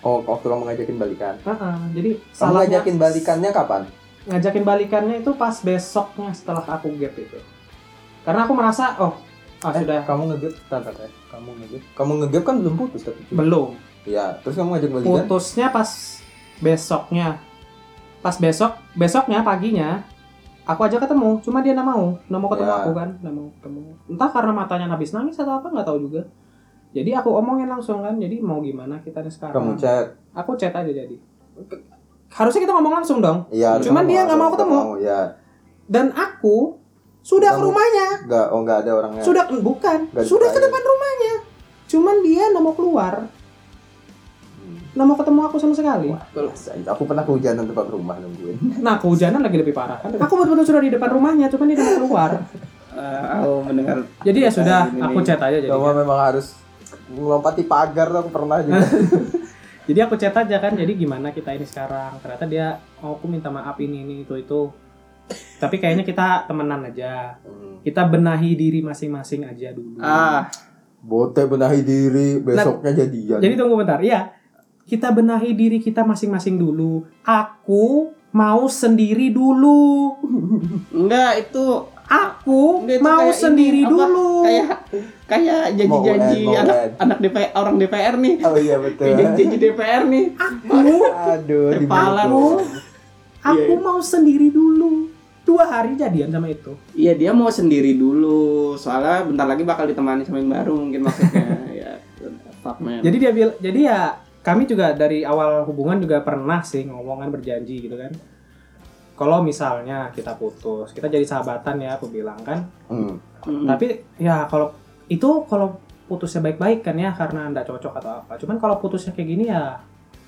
C: oh waktu kamu ngajakin balikan
D: Heeh, jadi
C: kamu
D: salahnya-
C: ngajakin balikannya kapan
D: ngajakin balikannya itu pas besoknya setelah aku gap itu karena aku merasa oh ah,
C: Eh,
D: sudah
C: kamu ngegep tantar ya kamu ngegep kamu ngegep kan belum putus tapi cuy.
D: belum
C: ya terus kamu ngajak balikan
D: putusnya pas besoknya pas besok besoknya paginya aku aja ketemu cuma dia nggak mau nggak mau ketemu
C: Ya.
D: aku kan nggak mau ketemu entah karena matanya habis nangis atau apa nggak tahu juga jadi aku omongin langsung kan jadi mau gimana kita nih sekarang
C: kamu chat
D: aku chat aja jadi harusnya kita ngomong langsung dong
C: Iya, harus
D: Cuman
C: ngomong,
D: dia nggak
C: harus
D: mau ketemu.
C: Ya,
D: dan aku sudah ke
C: Kamu-
D: rumahnya
C: nggak, oh nggak ada orangnya.
D: sudah bukan
C: Nggak
D: sudah ke
C: disukain.
D: depan rumahnya cuman dia nggak mau keluar
C: Hmm.
D: nggak mau ketemu aku sama sekali
C: Wah, rasain. Aku pernah kehujanan depan rumah nungguin.
D: nah kehujanan lagi lebih parah aku betul-betul sudah di depan rumahnya cuman dia nggak mau keluar
A: eh, aku
D: Oh.
A: mendengar
D: jadi ya sudah
A: Ini-
D: aku chat aja jadi
C: Cuma memang harus melompati pagar tuh aku pernah juga.
D: jadi aku chat aja kan jadi gimana kita ini sekarang ternyata dia oh, aku minta maaf ini ini itu itu tapi kayaknya kita temenan aja
C: Hmm.
D: kita benahi diri masing-masing aja dulu
A: ah
C: Bote benahi diri, besoknya jadian.
D: Jadi tunggu bentar, iya. Kita benahi diri kita masing-masing dulu. Aku mau sendiri dulu.
A: enggak itu
D: Aku
A: Nggak, itu
D: mau
A: kayak ini,
D: sendiri
A: apa,
D: dulu.
A: kayak kayak janji-janji
C: Mau UN, mau
A: anak
C: UN.
A: anak DPR orang DPR nih
C: Oh iya
A: Kayak
C: betul.
A: janji-janji DPR nih
D: Aku,
C: Aduh, di
A: Kepala
D: lu. aku
A: Iya.
D: mau sendiri dulu. Dua hari jadian sama itu.
A: Iya dia mau sendiri dulu soalnya bentar lagi bakal ditemani sama yang baru mungkin maksudnya ya fuck man
D: Jadi dia bil- jadi ya kami juga dari awal hubungan juga pernah sih ngomongan berjanji gitu kan. Kalau misalnya kita putus, kita jadi sahabatan ya, aku bilang kan.
C: Hmm.
A: Mm-mm.
D: Tapi ya kalau itu kalau putusnya baik-baik kan ya karena nggak cocok atau apa. Cuman kalau putusnya kayak gini ya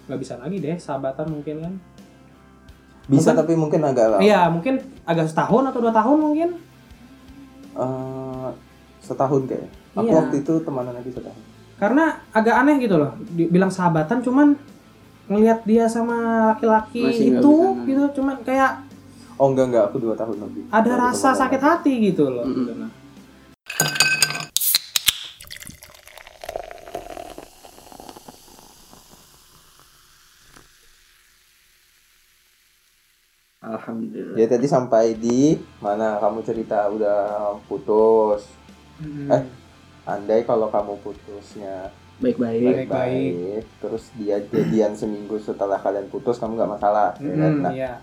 D: nggak bisa lagi deh sahabatan mungkin kan.
C: Bisa
D: Mungkin-
C: tapi mungkin agak lama.
D: Iya mungkin agak setahun atau dua tahun mungkin.
C: Eh, setahun kayaknya. Aku
D: Iya.
C: waktu itu temanan lagi setahun.
D: Karena agak aneh gitu loh. Dibilang sahabatan cuman ngelihat dia sama
A: Masih
D: laki-laki
A: nggak
D: itu
A: bisa, nah.
D: gitu cuman kayak
C: Oh enggak enggak, aku dua tahun lebih.
D: ada
C: Baru
D: rasa
C: temanan.
D: sakit hati gitu loh.
A: Mm-mm.
D: Gitu, nah.
A: alhamdulillah
C: Ya tadi sampai di mana kamu cerita udah putus. Eh, Andai kalau kamu putusnya
A: baik-baik
D: Baik-baik.
C: baik-baik, terus dia jadian seminggu setelah kalian putus, kamu nggak masalah. ya kan?
D: Mm,
C: Nah,
D: iya.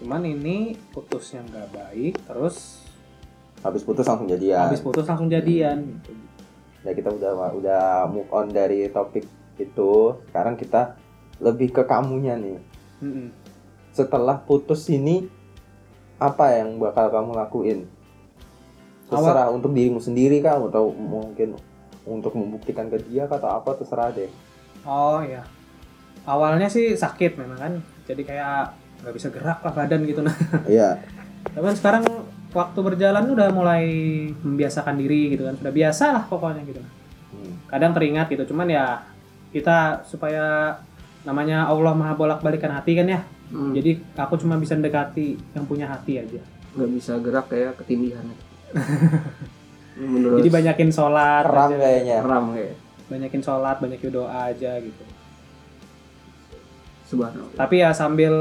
D: Cuman ini putusnya nggak baik terus
C: habis putus langsung jadian.
D: habis putus langsung
A: Mm.
D: jadian gitu.
C: Ya kita udah udah move on dari topik itu. Sekarang kita lebih ke kamunya nih.
D: Mm-mm.
C: Setelah putus ini apa yang bakal kamu lakuin? Terserah untuk dirimu sendiri kah atau mungkin untuk membuktikan ke dia kah, atau apa terserah deh.
D: Oh iya. Awalnya sih sakit memang kan. Jadi kayak nggak bisa gerak lah badan gitu nah.
C: Iya.
D: Tapi kan sekarang waktu berjalan udah mulai membiasakan diri gitu kan. Sudah biasa lah pokoknya gitu.
C: Hmm.
D: Kadang teringat gitu. Cuman ya kita supaya namanya Allah maha bolak balikan hati kan ya.
A: Hmm, jadi
D: Jadi aku cuma bisa mendekati yang punya hati aja.
A: nggak bisa gerak kayak ketindihan menurut
D: Jadi banyakin sholat,
C: Ram
D: aja.
C: kayaknya.
A: ram kayak
D: banyakin sholat, banyakin doa aja gitu.
A: subhanallah
D: Tapi ya sambil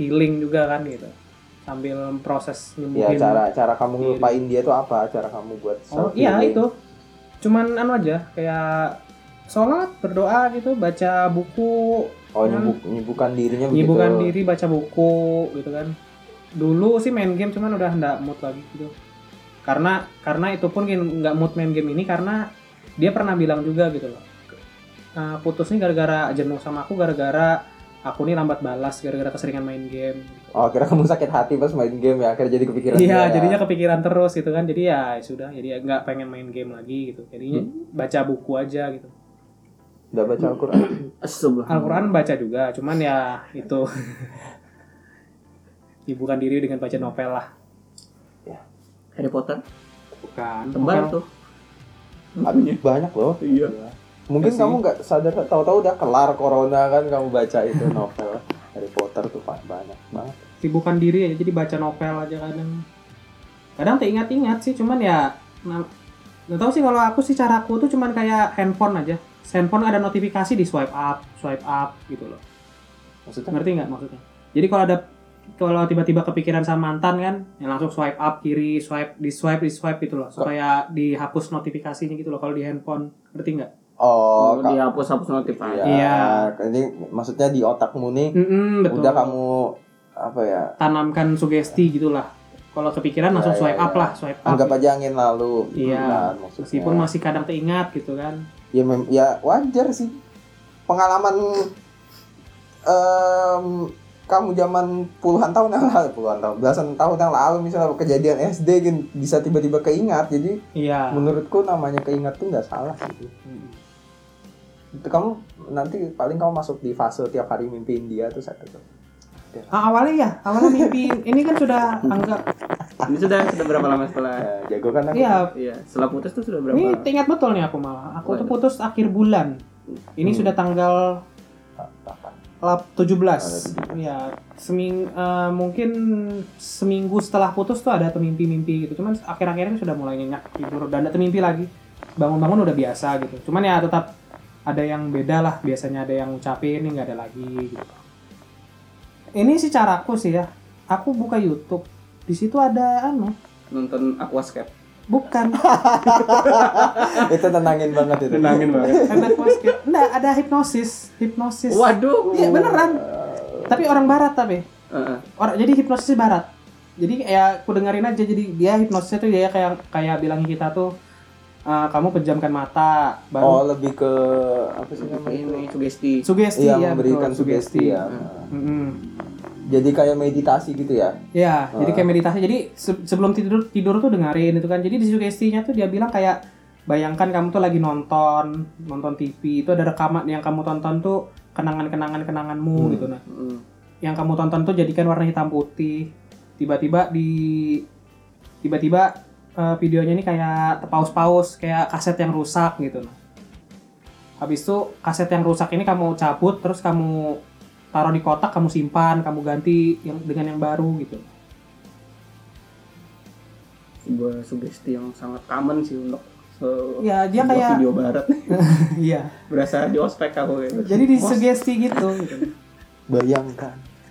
D: healing juga kan gitu. sambil proses
C: ya
D: nyembuhin
C: cara cara kamu ngelupain dia tuh apa cara kamu buat
D: Iya. Oh
C: self
D: iya
C: healing?
D: itu. Cuman anu aja kayak sholat, berdoa gitu, baca buku,
C: oh nyibuk- nyibukkan dirinya begitu
D: nyibukkan Iya, diri baca buku gitu kan. Dulu sih main game cuman udah nggak mood lagi gitu. Karena karena itu pun kin- nggak mood main game ini karena dia pernah bilang juga gitu loh. "Eh, putus nih gara-gara jenuh sama aku gara-gara aku nih lambat balas gara-gara keseringan main game.
C: oh kira kamu sakit hati pas main game ya akhirnya jadi kepikiran dia,
D: Iya,
C: ya.
D: jadinya kepikiran terus gitu kan. Jadi ya ya sudah, jadi ya nggak pengen main game lagi gitu. Jadi baca buku aja gitu.
C: udah baca Al-Quran
D: Al-Quran baca juga, cuman ya itu Ibukan diri dengan baca novel lah
A: Harry Potter
D: Bukan
A: tebal
D: novel.
A: tuh
C: Tapi banyak loh
A: Iya.
C: mungkin
D: Masih.
C: kamu nggak sadar tahu-tahu udah kelar corona kan kamu baca itu novel Harry Potter tuh pak banyak banget
D: Ibukan diri aja, jadi baca novel aja kadang Kadang teringat-ingat sih, cuman ya nah, Gak tau sih kalau aku sih cara aku tuh cuman kayak handphone aja Handphone ada notifikasi di swipe up, swipe up gitu loh
C: maksudnya
D: Ngerti nggak maksudnya? Jadi kalau ada kalau tiba-tiba kepikiran sama mantan kan, yang langsung swipe up kiri, swipe di swipe di swipe gitu loh, supaya dihapus notifikasinya gitu loh kalau di handphone, ngerti nggak?
C: oh
A: Oh,
C: ka-
A: dihapus-hapus notif aja.
C: iya
D: Iya.
C: ini maksudnya di otakmu nih
D: Mm-mm, betul.
C: udah kamu apa ya
D: Tanamkan sugesti gitulah. Kalau kepikiran
C: Ya,
D: langsung
C: ya,
D: swipe up
C: ya.
D: lah, swipe up. gitu.
C: anggap aja angin lalu gitu
D: Iya.
C: kan, maksudnya.
D: Meskipun masih kadang teringat gitu kan.
C: ya mem- ya wajar sih pengalaman em, kamu zaman puluhan tahun yang lalu puluhan tahun belasan tahun yang lalu misalnya kejadian SD gin- bisa tiba-tiba keingat jadi
D: Iya.
C: menurutku namanya keingat tuh nggak salah sih
D: Hmm.
C: itu kamu nanti paling kamu masuk di fase tiap hari mimpiin dia tuh satu tuh
D: Ah, awalnya ya, awalnya mimpi ini kan sudah anggap
A: Ini sudah sudah berapa lama setelah
C: Ya, jago kan aku
D: iya
A: Iya, setelah putus tuh sudah
D: Ini
A: berapa?
D: ingat betul nih aku malah. Aku
A: Waduh.
D: tuh putus akhir bulan. Ini
C: Hmm.
D: sudah tanggal
C: Kapan?
D: lap 17.
C: Tanggal
D: Ya, seming eh, mungkin seminggu setelah putus tuh ada mimpi-mimpi gitu. Cuman akhir-akhir ini sudah mulai nyenyak tidur dan ada mimpi lagi. Bangun-bangun udah biasa gitu. Cuman ya tetap ada yang beda lah. Biasanya ada yang ngucapin, ini nggak ada lagi gitu. Ini sih caraku sih ya. Aku buka YouTube. Di situ ada anu,
A: Nonton Aquascape.
D: bukan
C: itu tenangin banget itu
A: banget.
D: Enak basket. Nggak, ada hipnosis, hipnosis.
A: Waduh.
D: Iya beneran.
C: Eh,
D: Tapi orang barat tapi.
A: Heeh.
D: Orang jadi hipnosis barat. Jadi kayak aku dengerin aja jadi dia hipnosisnya tuh dia kayak kayak bilang kita tuh "Eh, kamu pejamkan mata
C: oh
D: baru
C: lebih ke apa sih namanya
A: ini sugesti.
D: sugesti
C: iya
D: ya,
C: memberikan
D: betul,
C: sugesti ya
D: Mm-mm.
C: jadi kayak meditasi gitu ya
D: Ya,
C: Ah.
D: jadi kayak meditasi. Jadi se- sebelum tidur tidur tuh dengerin itu kan. Jadi di sugestinya tuh dia bilang kayak bayangkan kamu tuh lagi nonton nonton TV itu ada rekaman yang kamu tonton tuh kenangan-kenangan kenanganmu
C: Hmm.
D: gitu nah.
A: Mm.
D: yang kamu tonton tuh jadikan warna hitam putih tiba-tiba di tiba-tiba eh, videonya ini kayak paus-paus kayak kaset yang rusak gitu nah habis itu kaset yang rusak ini kamu cabut terus kamu taruh di kotak kamu simpan kamu ganti yang dengan yang baru gitu
A: Sebuah sugesti yang sangat common sih untuk se-
D: ya dia
A: sebuah
D: kayak
A: video barat.
D: iya
A: Berasa di ospek aku kayak gitu.
D: jadi
A: Bos,
D: disugesti gitu, gitu.
C: bayangkan bayangkan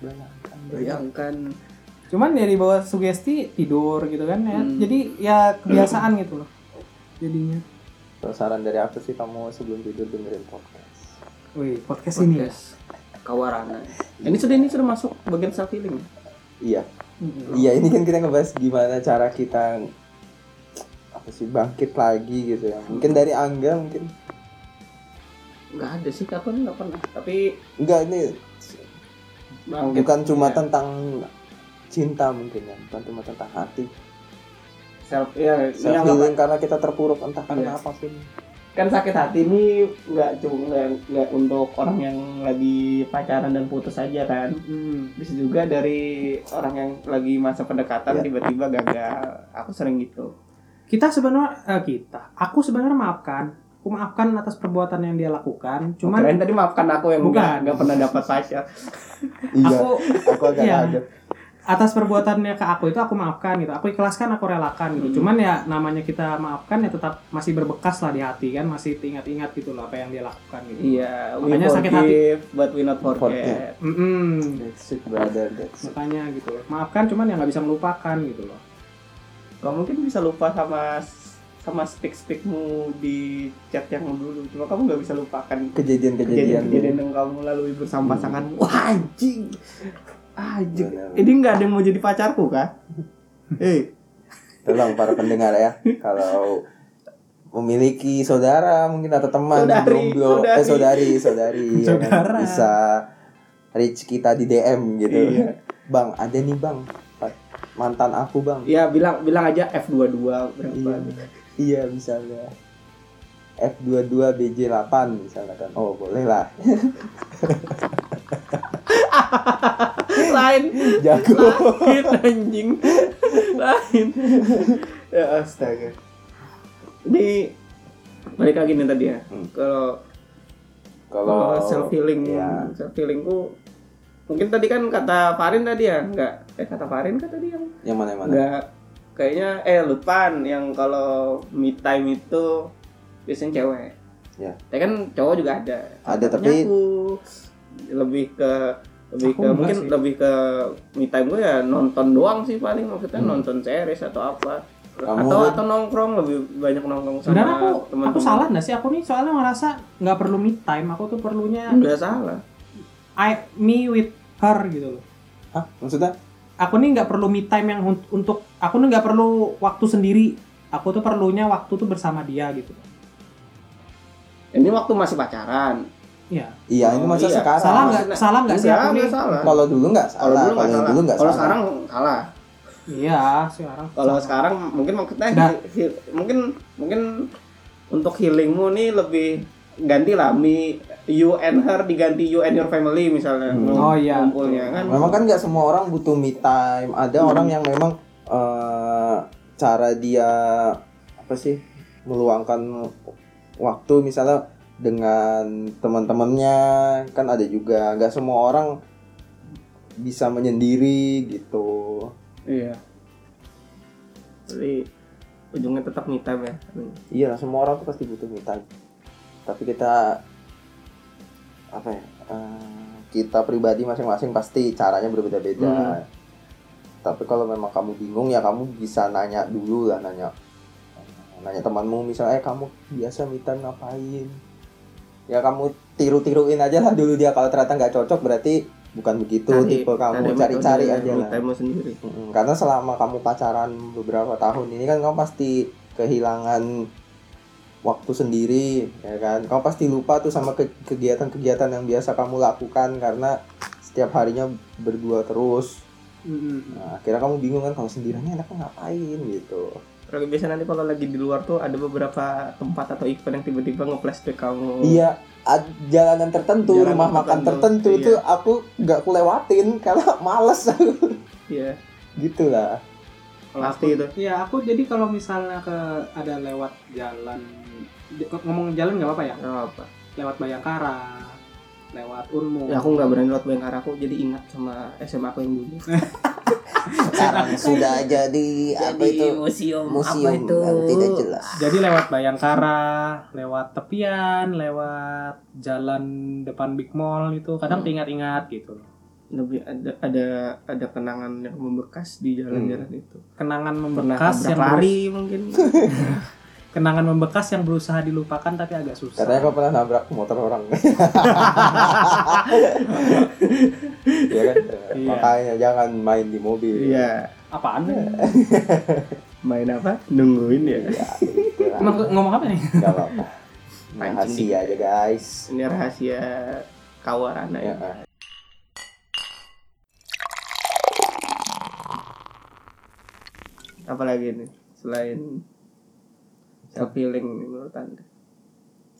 C: bayangkan
A: bayangkan
D: cuman ya di bawah sugesti tidur gitu kan ya
A: Hmm.
D: jadi ya kebiasaan gitu loh jadinya
C: Kalau saran dari aku sih kamu sebelum tidur dengerin podcast
D: wih podcast, ini ya
A: podcast kawarana. Ini sudah ini sudah masuk bagian self healing.
C: iya
D: Mm-mm.
C: iya ini kan kita ngebahas gimana cara kita apa sih bangkit lagi gitu ya mungkin dari Angga mungkin
A: Enggak ada sih aku enggak pernah. Tapi
C: enggak ini
A: bangkit
C: bukan cuma
A: Ya.
C: tentang cinta mungkin ya bukan cuma tentang hati
A: self ya,
C: self
A: yang
C: healing karena kita terpuruk entah karena
A: Iya.
C: apa pun
A: kan sakit hati ini nggak cuma nggak- nggak untuk orang yang lagi pacaran dan putus aja kan
D: Mm-mm.
A: bisa juga dari orang yang lagi masa pendekatan
C: Iya.
A: tiba-tiba gagal aku sering gitu
D: kita sebenarnya eh, kita aku sebenarnya maafkan aku maafkan atas perbuatan yang dia lakukan cuman
A: keren tadi maafkan aku yang
D: Bukan.
A: nggak nggak pernah dapat pacar
C: iya
D: aku
C: aku agak
D: Iya.
C: kaget
D: atas perbuatannya ke aku itu aku maafkan gitu aku ikhlaskan aku relakan
A: Hmm.
D: gitu cuman ya namanya kita maafkan ya tetap masih berbekas lah di hati kan masih ingat-ingat gitu loh apa yang dia lakukan gitu
A: Iya, we
D: Makanya sakit hati.
A: forgive, but we not forget.
C: Forget.
D: Mm-mm.
B: That's it, brother. That's it.
D: makanya gitu loh maafkan cuman ya nggak bisa melupakan gitu loh
A: Gak mungkin bisa lupa sama sama speak-speakmu di chat yang dulu. Cuma kamu gak bisa lupakan
B: Kejadian-kejadian.
A: kejadian-kejadian yang kamu lalui bersama pasanganmu.
D: Hmm.
A: Wah, anjing. Anjing.
B: Bener.
A: Ini nggak ada yang mau jadi pacarku kah? Eh, Hei,
C: Tolong para pendengar ya, kalau memiliki saudara mungkin atau teman yang
A: Saudari,
C: jomblo- eh saudari, saudari ya kan?
D: Saudara.
C: bisa reach kita di DM gitu.
A: Iya.
C: Bang, ada nih Bang. Mantan aku, Bang.
A: ya bilang bilang aja F22 berapa.
C: Iya. Iya, misalnya F22 BJ8 misalnya kan. Oh, boleh lah.
D: Iya.
A: Lain
C: Jago.
A: lain anjing. Lain. Ya astaga. Ini balik lagi nih tadi ya.
C: Hmm.
A: Kalau
C: Kalau
A: kalau self healing
C: ya.
A: self healingku mungkin tadi kan kata Farin tadi ya nggak eh kata Farin kan tadi yang
C: yang mana yang mana?
A: nggak kayaknya eh Lutfan yang kalau me time itu biasanya cewek
C: Ya.
A: tapi kan cowok juga ada
C: Ada,
A: Makanya
C: tapi-
A: aku lebih ke lebih
D: Aku
A: ke
D: enggak
A: mungkin
D: sih.
A: lebih ke me time gue ya nonton doang sih paling maksudnya
D: Hmm.
A: nonton series atau apa
C: Kamu-
A: atau atau nongkrong lebih banyak nongkrong sama
D: sebenarnya aku aku
A: teman-teman.
D: salah nggak sih aku nih soalnya ngerasa nggak perlu me time aku tuh perlunya
A: nggak salah
D: I me with her gitu loh
C: Hah, maksudnya?
D: aku nih nggak perlu me time yang hun- untuk aku nih nggak perlu waktu sendiri aku tuh perlunya waktu tuh bersama dia gitu
A: ini waktu masih pacaran
D: Iya.
C: Iya, ini
A: Oh,
C: masa
A: iya.
C: sekarang.
D: salah nggak
A: maksudnya-
D: salah nggak sih
A: Enggak,
D: aku nih
A: enggak salah.
C: Kalau dulu nggak
A: Kalau
C: salah,
A: dulu nggak
C: kalau
A: salah.
C: dulu nggak
A: Kalau
C: salah.
A: sekarang salah.
D: iya sekarang
A: Kalau
D: salah.
A: sekarang mungkin maksudnya
D: Nah.
A: he- mungkin mungkin untuk healingmu nih lebih ganti lah me you and her diganti you and your family misalnya
C: Hmm.
A: Ngumpul-
D: Oh, iya.
A: ngumpulnya kan
C: Memang kan nggak semua orang butuh me time. Ada orang yang memang eh, cara dia apa sih meluangkan waktu misalnya dengan teman-temannya kan ada juga. Nggak semua orang bisa menyendiri gitu.
A: iya jadi ujungnya tetap me time ya
C: Iya, semua orang tuh pasti butuh me time. Tapi kita apa ya? eh, kita pribadi masing-masing pasti caranya berbeda-beda. Tapi kalau memang kamu bingung ya kamu bisa nanya dulu lah nanya nanya temanmu misalnya "Eh, kamu biasa me time ngapain? Ya kamu tiru-tiruin aja lah dulu dia kalau ternyata nggak cocok berarti bukan begitu tipe kamu cari-cari aja
A: me
C: lah.
A: time sendiri
C: Mm, karena selama kamu pacaran beberapa tahun ini kan kamu pasti kehilangan waktu sendiri ya kan kamu pasti lupa tuh sama ke- kegiatan-kegiatan yang biasa kamu lakukan karena setiap harinya berdua terus
D: Mm-mm.
C: nah, akhirnya kamu bingung kan kalau sendiriannya enaknya ngapain gitu
A: Kalau biasanya nanti kalau lagi di luar tuh ada beberapa tempat atau event yang tiba-tiba nge-flashback kamu.
C: iya a- jalanan tertentu
A: Jalanan
C: rumah makan
A: tertentu,
C: tertentu
A: iya.
C: tuh aku nggak kulewatin karena males
A: Iya.
C: gitu lah
A: Pasti itu.
D: ya aku jadi kalau misalnya ke ada lewat jalan di- ngomong jalan nggak apa-apa ya
A: Nggak apa.
D: lewat Bayangkara lewat Unmu
A: Ya, aku nggak berani lewat bayangkara aku jadi ingat sama SMA aku yang dulu.
C: sekarang sudah jadi apa itu
A: museum,
C: museum yang tidak jelas
D: jadi lewat Bayangkara lewat tepian lewat jalan depan Big Mall itu kadang
A: Hmm.
D: ingat-ingat gitu
A: Lebih ada ada ada kenangan yang membekas di jalan-jalan
C: Hmm.
A: itu.
D: kenangan
A: Pernah
D: membekas
A: tabrak
D: yang
A: lari
D: berus-
A: mungkin.
D: kenangan membekas yang berusaha dilupakan tapi agak susah
C: Katanya kau pernah nabrak motor orang. Iya kan?
D: Iya.
C: Makanya jangan main di mobil.
A: Iya.
D: apaan
A: Main apa? Nungguin ya.
C: Ya, gitu lah.
D: emang ngomong apa nih
C: Nggak apa-apa.
A: Mancing
C: Rahasia
A: dikit.
C: aja guys.
A: Ini rahasia kawarana
C: Ya.
A: ya. Apalagi nih selain self healing menurut anda?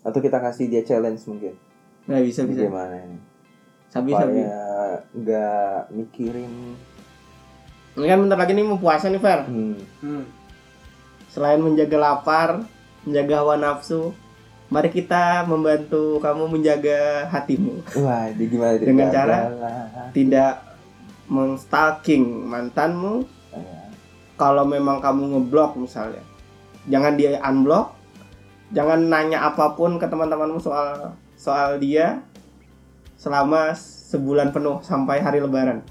C: Atau kita kasih dia challenge mungkin.
A: Nggak bisa bisa.
C: Gimana ini?
A: Sabi sabi.
C: Supaya nggak mikirin.
A: Ini kan bentar lagi nih mau puasa nih Fer.
C: Hmm.
D: Hmm.
A: Selain menjaga lapar, menjaga hawa nafsu, mari kita membantu kamu menjaga hatimu.
C: Wah, ini gimana?
A: Dengan cara? Tidak menstalking mantanmu kalau memang kamu ngeblok misalnya jangan dia unblock jangan nanya apapun ke teman-temanmu soal soal dia selama sebulan penuh sampai hari lebaran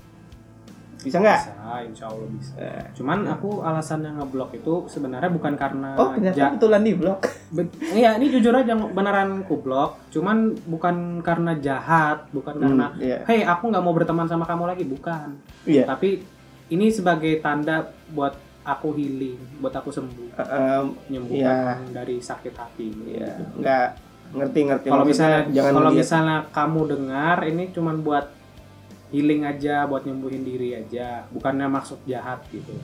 A: bisa nggak
D: Bisa, insya Allah bisa.
A: Eh.
D: Cuman aku alasan yang ngeblok itu sebenarnya bukan karena
A: oh ternyata kebetulan di blok
D: Ben- Iya, ini jujur aja beneran kublok. Cuman bukan karena jahat, bukan karena
A: iya
D: hey aku nggak mau berteman sama kamu lagi, bukan.
A: Iya.
D: Tapi ini sebagai tanda buat aku healing, buat aku sembuh,
A: Em,
D: menyembuhkan dari sakit hati. Gitu.
A: iya nggak ngerti ngerti
D: Kalau
A: Maksudnya
D: misalnya
A: jangan
D: kalau
A: lihat.
D: misalnya kamu dengar ini cuman buat healing aja, buat nyembuhin diri aja, bukannya maksud jahat gitu.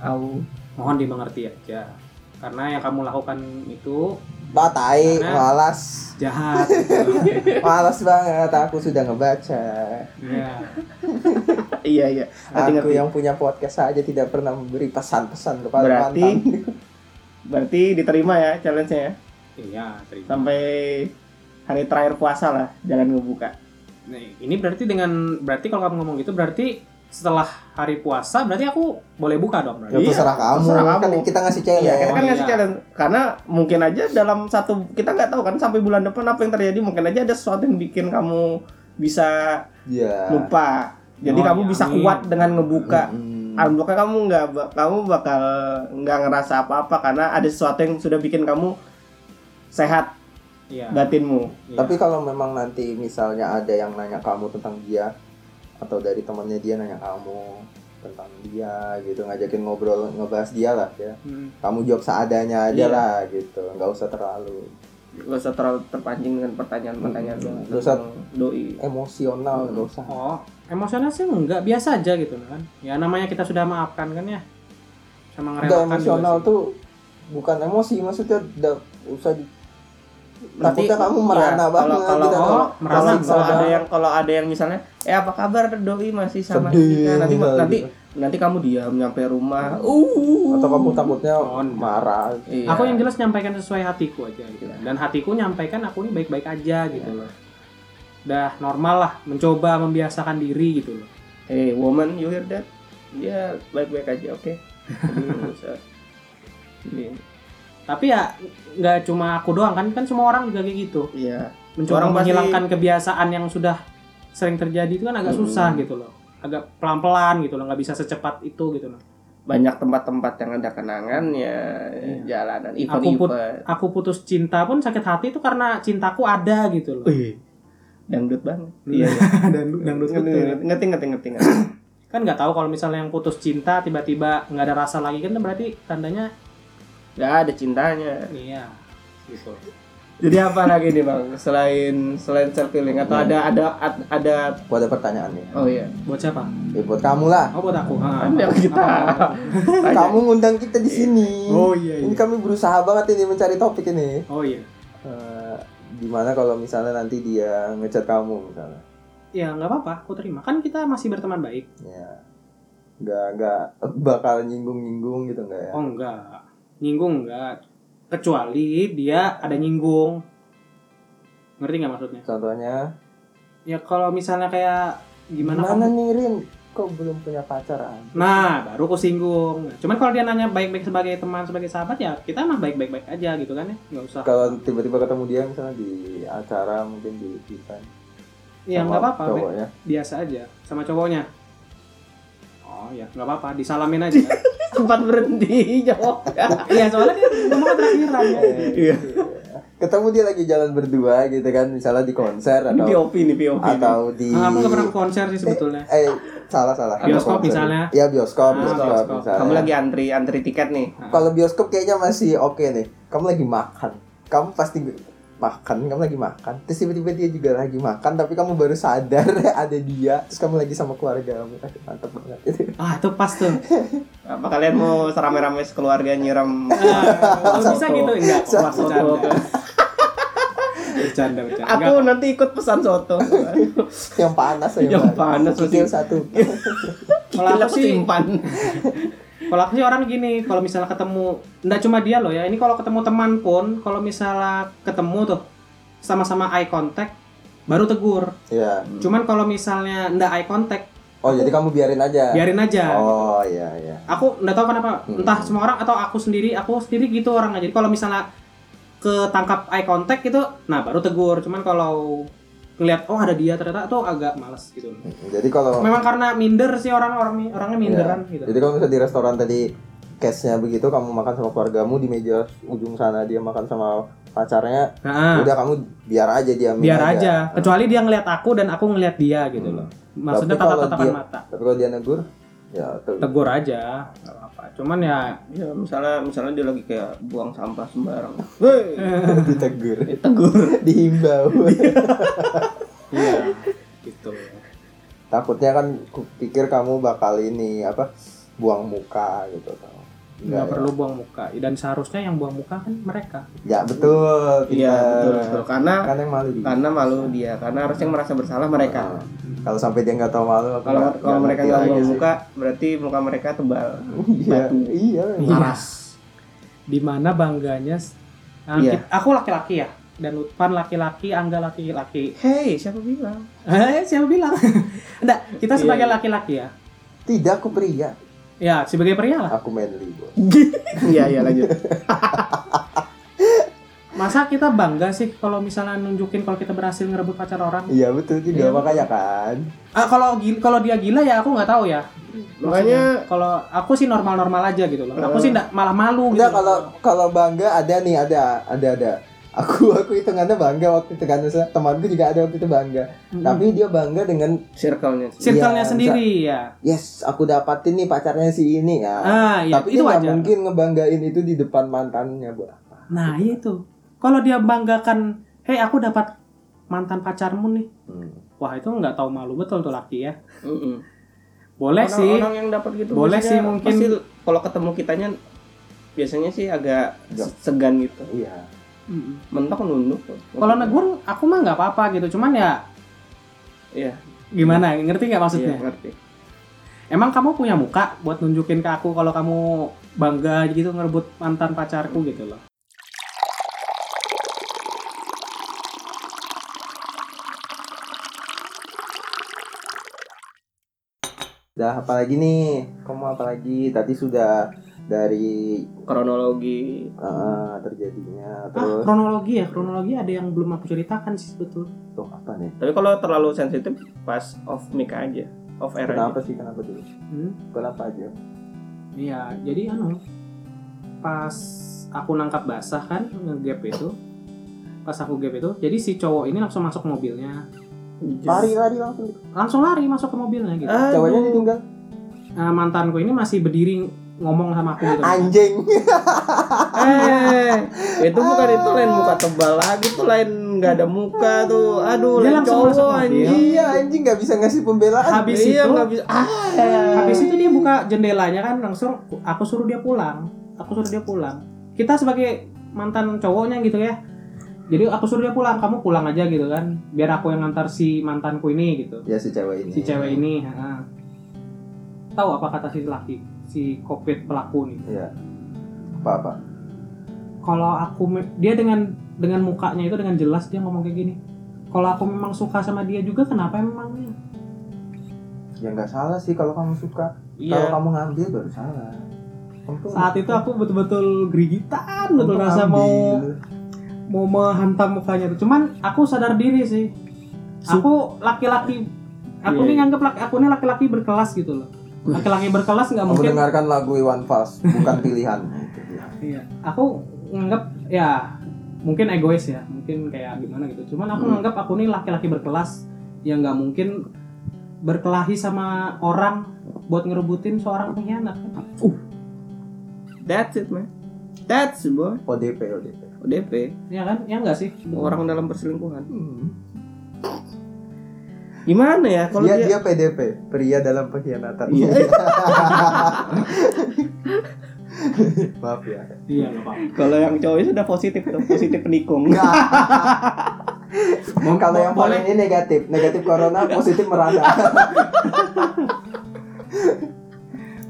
A: Au.
D: Mohon dimengerti aja. Karena yang kamu lakukan itu
C: Batai,
D: Karena-
C: malas.
D: jahat. gitu.
C: Malas banget aku sudah ngebaca.
D: Iya.
A: iya iya ngerti
C: Aku
A: ngerti
C: yang punya podcast saja tidak pernah memberi pesan-pesan kepada
A: berarti
C: mantan. Ya,
A: berarti diterima ya challenge nya ya
D: Iya, terima.
A: sampai hari terakhir puasa lah jangan ngebuka
D: Nah, ini berarti dengan berarti kalau kamu ngomong gitu berarti setelah hari puasa berarti aku boleh buka dong
C: Ya
D: berarti.
A: Iya,
C: terserah kamu.
A: terserah
C: Kan
A: kamu.
C: kita ngasih challenge.
A: Iya, kita kan
D: Oh,
A: ngasih
D: iya.
A: challenge karena mungkin aja dalam satu kita nggak tahu kan sampai bulan depan apa yang terjadi mungkin aja ada sesuatu yang bikin kamu bisa
C: Iya.
A: lupa. Jadi
D: Oh,
A: kamu
D: iya,
A: bisa
D: amin.
A: kuat dengan ngebuka.
C: Mm-mm.
A: Unblocknya kamu nggak ba- kamu bakal nggak ngerasa apa-apa karena ada sesuatu yang sudah bikin kamu sehat
D: Iya.
A: batinmu.
D: iya.
C: Tapi kalau memang nanti misalnya ada yang nanya kamu tentang dia atau dari temannya dia nanya kamu tentang dia gitu ngajakin ngobrol ngebahas dia lah ya
D: Hmm.
C: kamu jawab seadanya aja
A: Iya.
C: lah gitu nggak usah terlalu
A: Gak usah terlalu terpancing dengan pertanyaan-pertanyaan
C: Hmm,
A: tentang
C: gak usah.
A: doi.
C: emosional nggak usah
D: Oh, emosional sih enggak biasa aja gitu kan. Ya namanya kita sudah maafkan kan ya. Sama
C: nggak
D: ngerelakan juga
C: emosional
D: sih.
C: tuh bukan emosi maksudnya nggak usah di-
A: Berarti-
C: takutnya kamu merana
A: Iya,
C: banget
A: kalau- kalau-
C: gitu
D: oh, merana
A: Kalau,
C: Tersiksa
A: kalau ada
C: banget.
A: yang kalau ada yang misalnya, eh apa kabar doi masih sama
C: Sedih,
A: kita? Nanti
C: gitu.
A: nanti nanti kamu diam nyampe rumah. Uh.
C: atau kamu takutnya
D: Oh, enggak.
C: marah
A: Iya.
D: Aku yang jelas nyampaikan sesuai hatiku aja gitu. Dan hatiku nyampaikan aku ini baik-baik aja gitu loh. Udah normal lah mencoba membiasakan diri gitu loh.
A: Hey woman, you hear that? Dia baik-baik aja, oke? Jadi, nggak usah. Jadi,
D: Tapi ya nggak cuma aku doang kan kan semua orang juga kayak gitu.
A: Iya.
D: mencoba
A: Orang pasti-
D: menghilangkan kebiasaan yang sudah sering terjadi itu kan agak
A: Hmm.
D: susah gitu loh agak pelan-pelan gitu loh nggak bisa secepat itu gitu loh
A: Banyak tempat-tempat yang ada kenangan ya
C: Iya.
A: jalanan
D: Aku put-
A: event-event.
D: aku putus cinta pun sakit hati itu karena cintaku ada gitu loh
A: Wih, Dangdut banget.
D: Hmm.
A: Iya.
D: dan dangdut gitu ya.
A: Ngerti,
D: betul.
A: ngerti, ngerti, ngerti, ngerti, ngerti.
D: kan nggak tahu kalau misalnya yang putus cinta tiba-tiba nggak ada rasa lagi kan berarti tandanya
A: Nggak ada cintanya.
D: iya gitu
A: Jadi apa lagi nih bang? Selain selain self healing atau ada ada ad- ada
C: aku ada pertanyaan nih
A: oh iya
D: buat siapa
C: ya, buat kamu lah
D: oh buat aku Ah,
A: Kan yang
D: apa-
A: kita-
D: apa-
C: kamu ngundang kita di sini
D: oh iya
C: ini
D: iya
C: kami berusaha banget ini mencari topik ini
D: oh iya
C: Eh, gimana kalau misalnya nanti dia ngechat kamu misalnya
D: ya nggak apa-apa aku terima kan kita masih berteman baik
C: ya nggak nggak bakal nyinggung nyinggung gitu nggak ya
D: Oh enggak, nyinggung enggak. Kecuali dia ada nyinggung. Ngerti nggak maksudnya?
C: contohnya
D: Ya kalau misalnya kayak gimana,
C: mana
D: kamu-
C: nih Rin kok belum punya pacaran
D: Nah, baru aku singgung. Nah, Cuman kalau dia nanya baik-baik sebagai teman, sebagai sahabat ya kita mah baik-baik baik aja gitu kan ya. Nggak usah.
C: kalau tiba-tiba ketemu dia misalnya di acara mungkin di event
D: Ya
C: sama
D: nggak apa-apa, be-
C: cowoknya
D: biasa aja sama cowoknya. Oh ya, nggak apa-apa, disalamin aja.
A: tempat berhenti jawab.
D: Iya, soalnya dia ngomongnya terakhiran ya.
A: Iya.
C: ketemu dia lagi jalan berdua gitu kan misalnya di konser
A: Ini
C: atau
A: POV nih POV. nih.
C: atau di
D: Nah, aku nggak pernah ke konser sih sebetulnya.
C: eh salah salah
D: Bioskop
C: Konser.
D: misalnya.
C: ya bioskop
D: Ah,
C: bioskop,
D: bioskop.
C: misalnya
A: Kamu lagi antri antri tiket nih.
C: Kalau bioskop kayaknya masih oke nih. Kamu lagi makan. Kamu pasti makan, kamu lagi makan. Terus tiba-tiba dia juga lagi makan tapi kamu baru sadar ada dia. Terus kamu lagi sama keluarga kamu. Eh, mantep banget.
D: Ah, itu pas tuh.
A: Apa kalian mau serame-rame sekeluarga nyiram?
D: Ah, Kalau bisa gitu enggak kok,
A: Soto.
D: bercanda. Bercanda bercanda.
A: Aku
D: Enggak,
A: nanti ikut pesan soto.
C: Yang panas aja.
A: Yang panas,
C: Kikil satu.
D: kalau aku sih
A: simpan.
D: kalau aku sih orang gini, kalau misalnya ketemu enggak cuma dia loh ya. Ini kalau ketemu teman pun, kalau misalnya ketemu tuh sama-sama eye contact baru tegur.
C: Iya.
D: Cuman kalau misalnya ndak eye contact,
E: Oh jadi kamu biarin aja.
D: biarin aja.
C: Oh iya iya.
D: Aku ndak tahu kenapa,
C: Hmm.
D: entah semua orang atau aku sendiri, aku sendiri gitu orangnya. Jadi kalau misalnya ketangkap eye contact gitu, nah baru tegur. Cuman kalau ngeliat oh ada dia ternyata tuh agak males gitu.
C: Mm, Jadi kalau
D: Memang karena minder sih orang orang orangnya
C: Iya.
D: minderan gitu.
C: jadi kalau misalnya di restoran tadi case-nya begitu kamu makan sama keluargamu di meja ujung sana dia makan sama pacarnya
A: Ah.
D: Nah,
C: udah kamu biar aja dia ambil
D: biar aja. Kecuali dia ngeliat aku dan aku ngeliat dia gitu
C: Hmm.
D: loh. Maksudnya
C: Tapi kalau
D: tatap-tatapan
C: dia-
D: mata.
C: Ah. tapi kalau dia negur ya tuh
D: Tegur aja, nggak apa-apa. Cuman ya
A: ya misalnya misalnya dia lagi kayak buang sampah sembarang Woi,
C: ditegur
A: ditegur
C: dihimbau
D: Iya, gitu.
C: takutnya kan pikir kamu bakal ini apa buang muka gitu tau
D: Nggak
C: ya.
D: perlu buang muka. Dan seharusnya yang buang muka kan mereka.
C: ya betul
A: iya
C: pintar.
A: betul betul karena
C: kan yang malu dia.
A: karena malu dia karena harusnya merasa bersalah mereka
C: Nah, kalau sampai dia nggak tahu malu aku
A: kalau
C: nggak-
A: kalau mereka
C: ngerti
A: nggak
C: lagi
A: buang
C: sih.
A: muka berarti muka mereka tebal
C: iya iya
D: Paras. Dimana bangganya s- Nah,
A: Iya.
D: ki- aku laki-laki ya dan Lutfan laki-laki, Angga laki-laki.
A: hei siapa bilang
D: Eh, siapa bilang? Enggak, kita
A: Iya.
D: sebagai laki-laki ya.
C: tidak aku pria
D: Ya, sebagai pria lah.
C: aku manly bos
A: iya iya lanjut
D: Masa kita bangga sih kalau misalnya nunjukin kalau kita berhasil ngerebut pacar orang?
C: iya betul juga
D: Iya.
C: makanya kan
D: Ah, kalau gil- kalau dia gila ya aku nggak tahu ya.
A: makanya
D: Kalau aku sih normal-normal aja gitu loh. Aku sih enggak malah malu gitu.
C: Enggak Iya. kalau kalau bangga ada nih ada ada ada. Aku aku hitungannya bangga waktu itu kan Misalnya temanku juga ada waktu itu bangga.
D: Mm-mm.
C: Tapi dia bangga dengan
A: circle-nya
D: circle-nya
C: Iya,
D: sendiri ya.
C: yes aku dapatin nih pacarnya si ini ya.
D: Ah, iya,
C: Tapi
D: itu
C: itu dia nggak
D: aja.
C: mungkin ngebanggain itu di depan mantannya bu.
D: Nah, iya itu. Kalau dia banggakan, "Hei, aku dapat mantan pacarmu nih."
C: Hmm.
D: Wah, itu nggak tahu malu betul tuh laki ya.
A: Mm-mm.
D: Boleh
A: orang,
D: sih.
A: orang yang dapat gitu
D: Boleh
A: biasanya
D: sih, mungkin.
A: pasti kalau ketemu kitanya biasanya sih agak
C: Enggak.
A: segan gitu
C: Iya.
D: Mm-mm.
A: mentok nunduk
D: Kalau negur aku mah nggak apa-apa gitu. Cuman ya
A: iya
D: gimana? Ngerti nggak maksudnya?
A: iya ngerti
D: Emang kamu punya muka buat nunjukin ke aku kalau kamu bangga gitu ngerebut mantan pacarku gitu loh.
C: Dah apalagi nih kamu apalagi tadi sudah dari
A: kronologi
C: eh, terjadinya
D: Ah,
C: terus
D: kronologi ya, kronologi ada yang belum aku ceritakan sih sebetulnya.
C: tuh apa nih?
A: tapi kalau terlalu sensitif pas off mic aja off air aja
C: Kenapa sih kenapa dulu?
D: Hmm,
C: Kenapa aja?
D: Iya, jadi anu pas aku nangkap basah kan ngegap itu. Pas aku gap itu, jadi si cowok ini langsung masuk ke mobilnya.
C: Lari lari langsung.
D: Langsung lari masuk ke mobilnya gitu.
A: Aduh.
C: Ceweknya ditinggal.
D: Nah, mantanku ini masih berdiri ngomong sama aku gitu.
C: Anjing.
A: eh itu bukan itu lain muka tebal lagi tuh lain nggak ada muka tuh aduh
D: Dia
A: lain
D: langsung masuk
A: cowok
D: mobil.
A: anjing
C: Iya anjing nggak bisa ngasih pembelaan.
D: Habis
A: iya
D: itu
A: nggak bisa ah
D: Habis itu dia buka jendelanya kan langsung aku suruh dia pulang. Aku suruh dia pulang. Kita sebagai mantan cowoknya gitu ya. Jadi aku suruh dia pulang, kamu pulang aja gitu kan. Biar aku yang ngantar si mantanku ini gitu.
C: Ya si cewek ini.
D: Si cewek ini, ha. Tahu apa kata si laki, si kopit pelaku nih.
C: Iya. Apa apa?
D: Kalau aku me- dia dengan dengan mukanya itu dengan jelas dia ngomong kayak gini. Kalau aku memang suka sama dia juga kenapa emangnya?
C: Ya nggak salah sih kalau kamu suka. Kalau
A: iya
C: kamu ngambil baru salah. Untung-
D: Saat itu aku betul-betul gerigitan,
C: untung
D: betul rasa
C: ambil.
D: mau mau menghantam mukanya tuh. Cuman aku sadar diri sih. Aku laki-laki. Aku
A: Iya,
D: nih
A: iya.
D: nganggep laki, aku nih laki-laki berkelas gitu loh. Laki-laki berkelas nggak
C: Kamu
D: mungkin.
C: dengarkan lagu Iwan Fals bukan pilihan. Itu dia.
D: Iya. Aku nganggep ya mungkin egois ya, mungkin kayak gimana gitu. Cuman aku
C: Hmm.
D: nganggep aku nih laki-laki berkelas yang nggak mungkin berkelahi sama orang buat ngerebutin seorang pengkhianat.
A: that's it man that's it, boy
C: ODP ODP.
A: ODP
D: Ya kan? Ya nggak sih?
A: orang dalam perselingkuhan
C: Hmm.
A: gimana ya kalau
C: Dia,
A: dia,
C: Iya, dia PDP pria dalam pengkhianatan.
A: Iya.
C: Maaf ya.
D: Iya, nggak apa-apa.
A: kalau yang cowoknya sudah positif tuh positif penikung
C: Enggak. Kalau yang paling ini negatif, negatif corona, positif merana.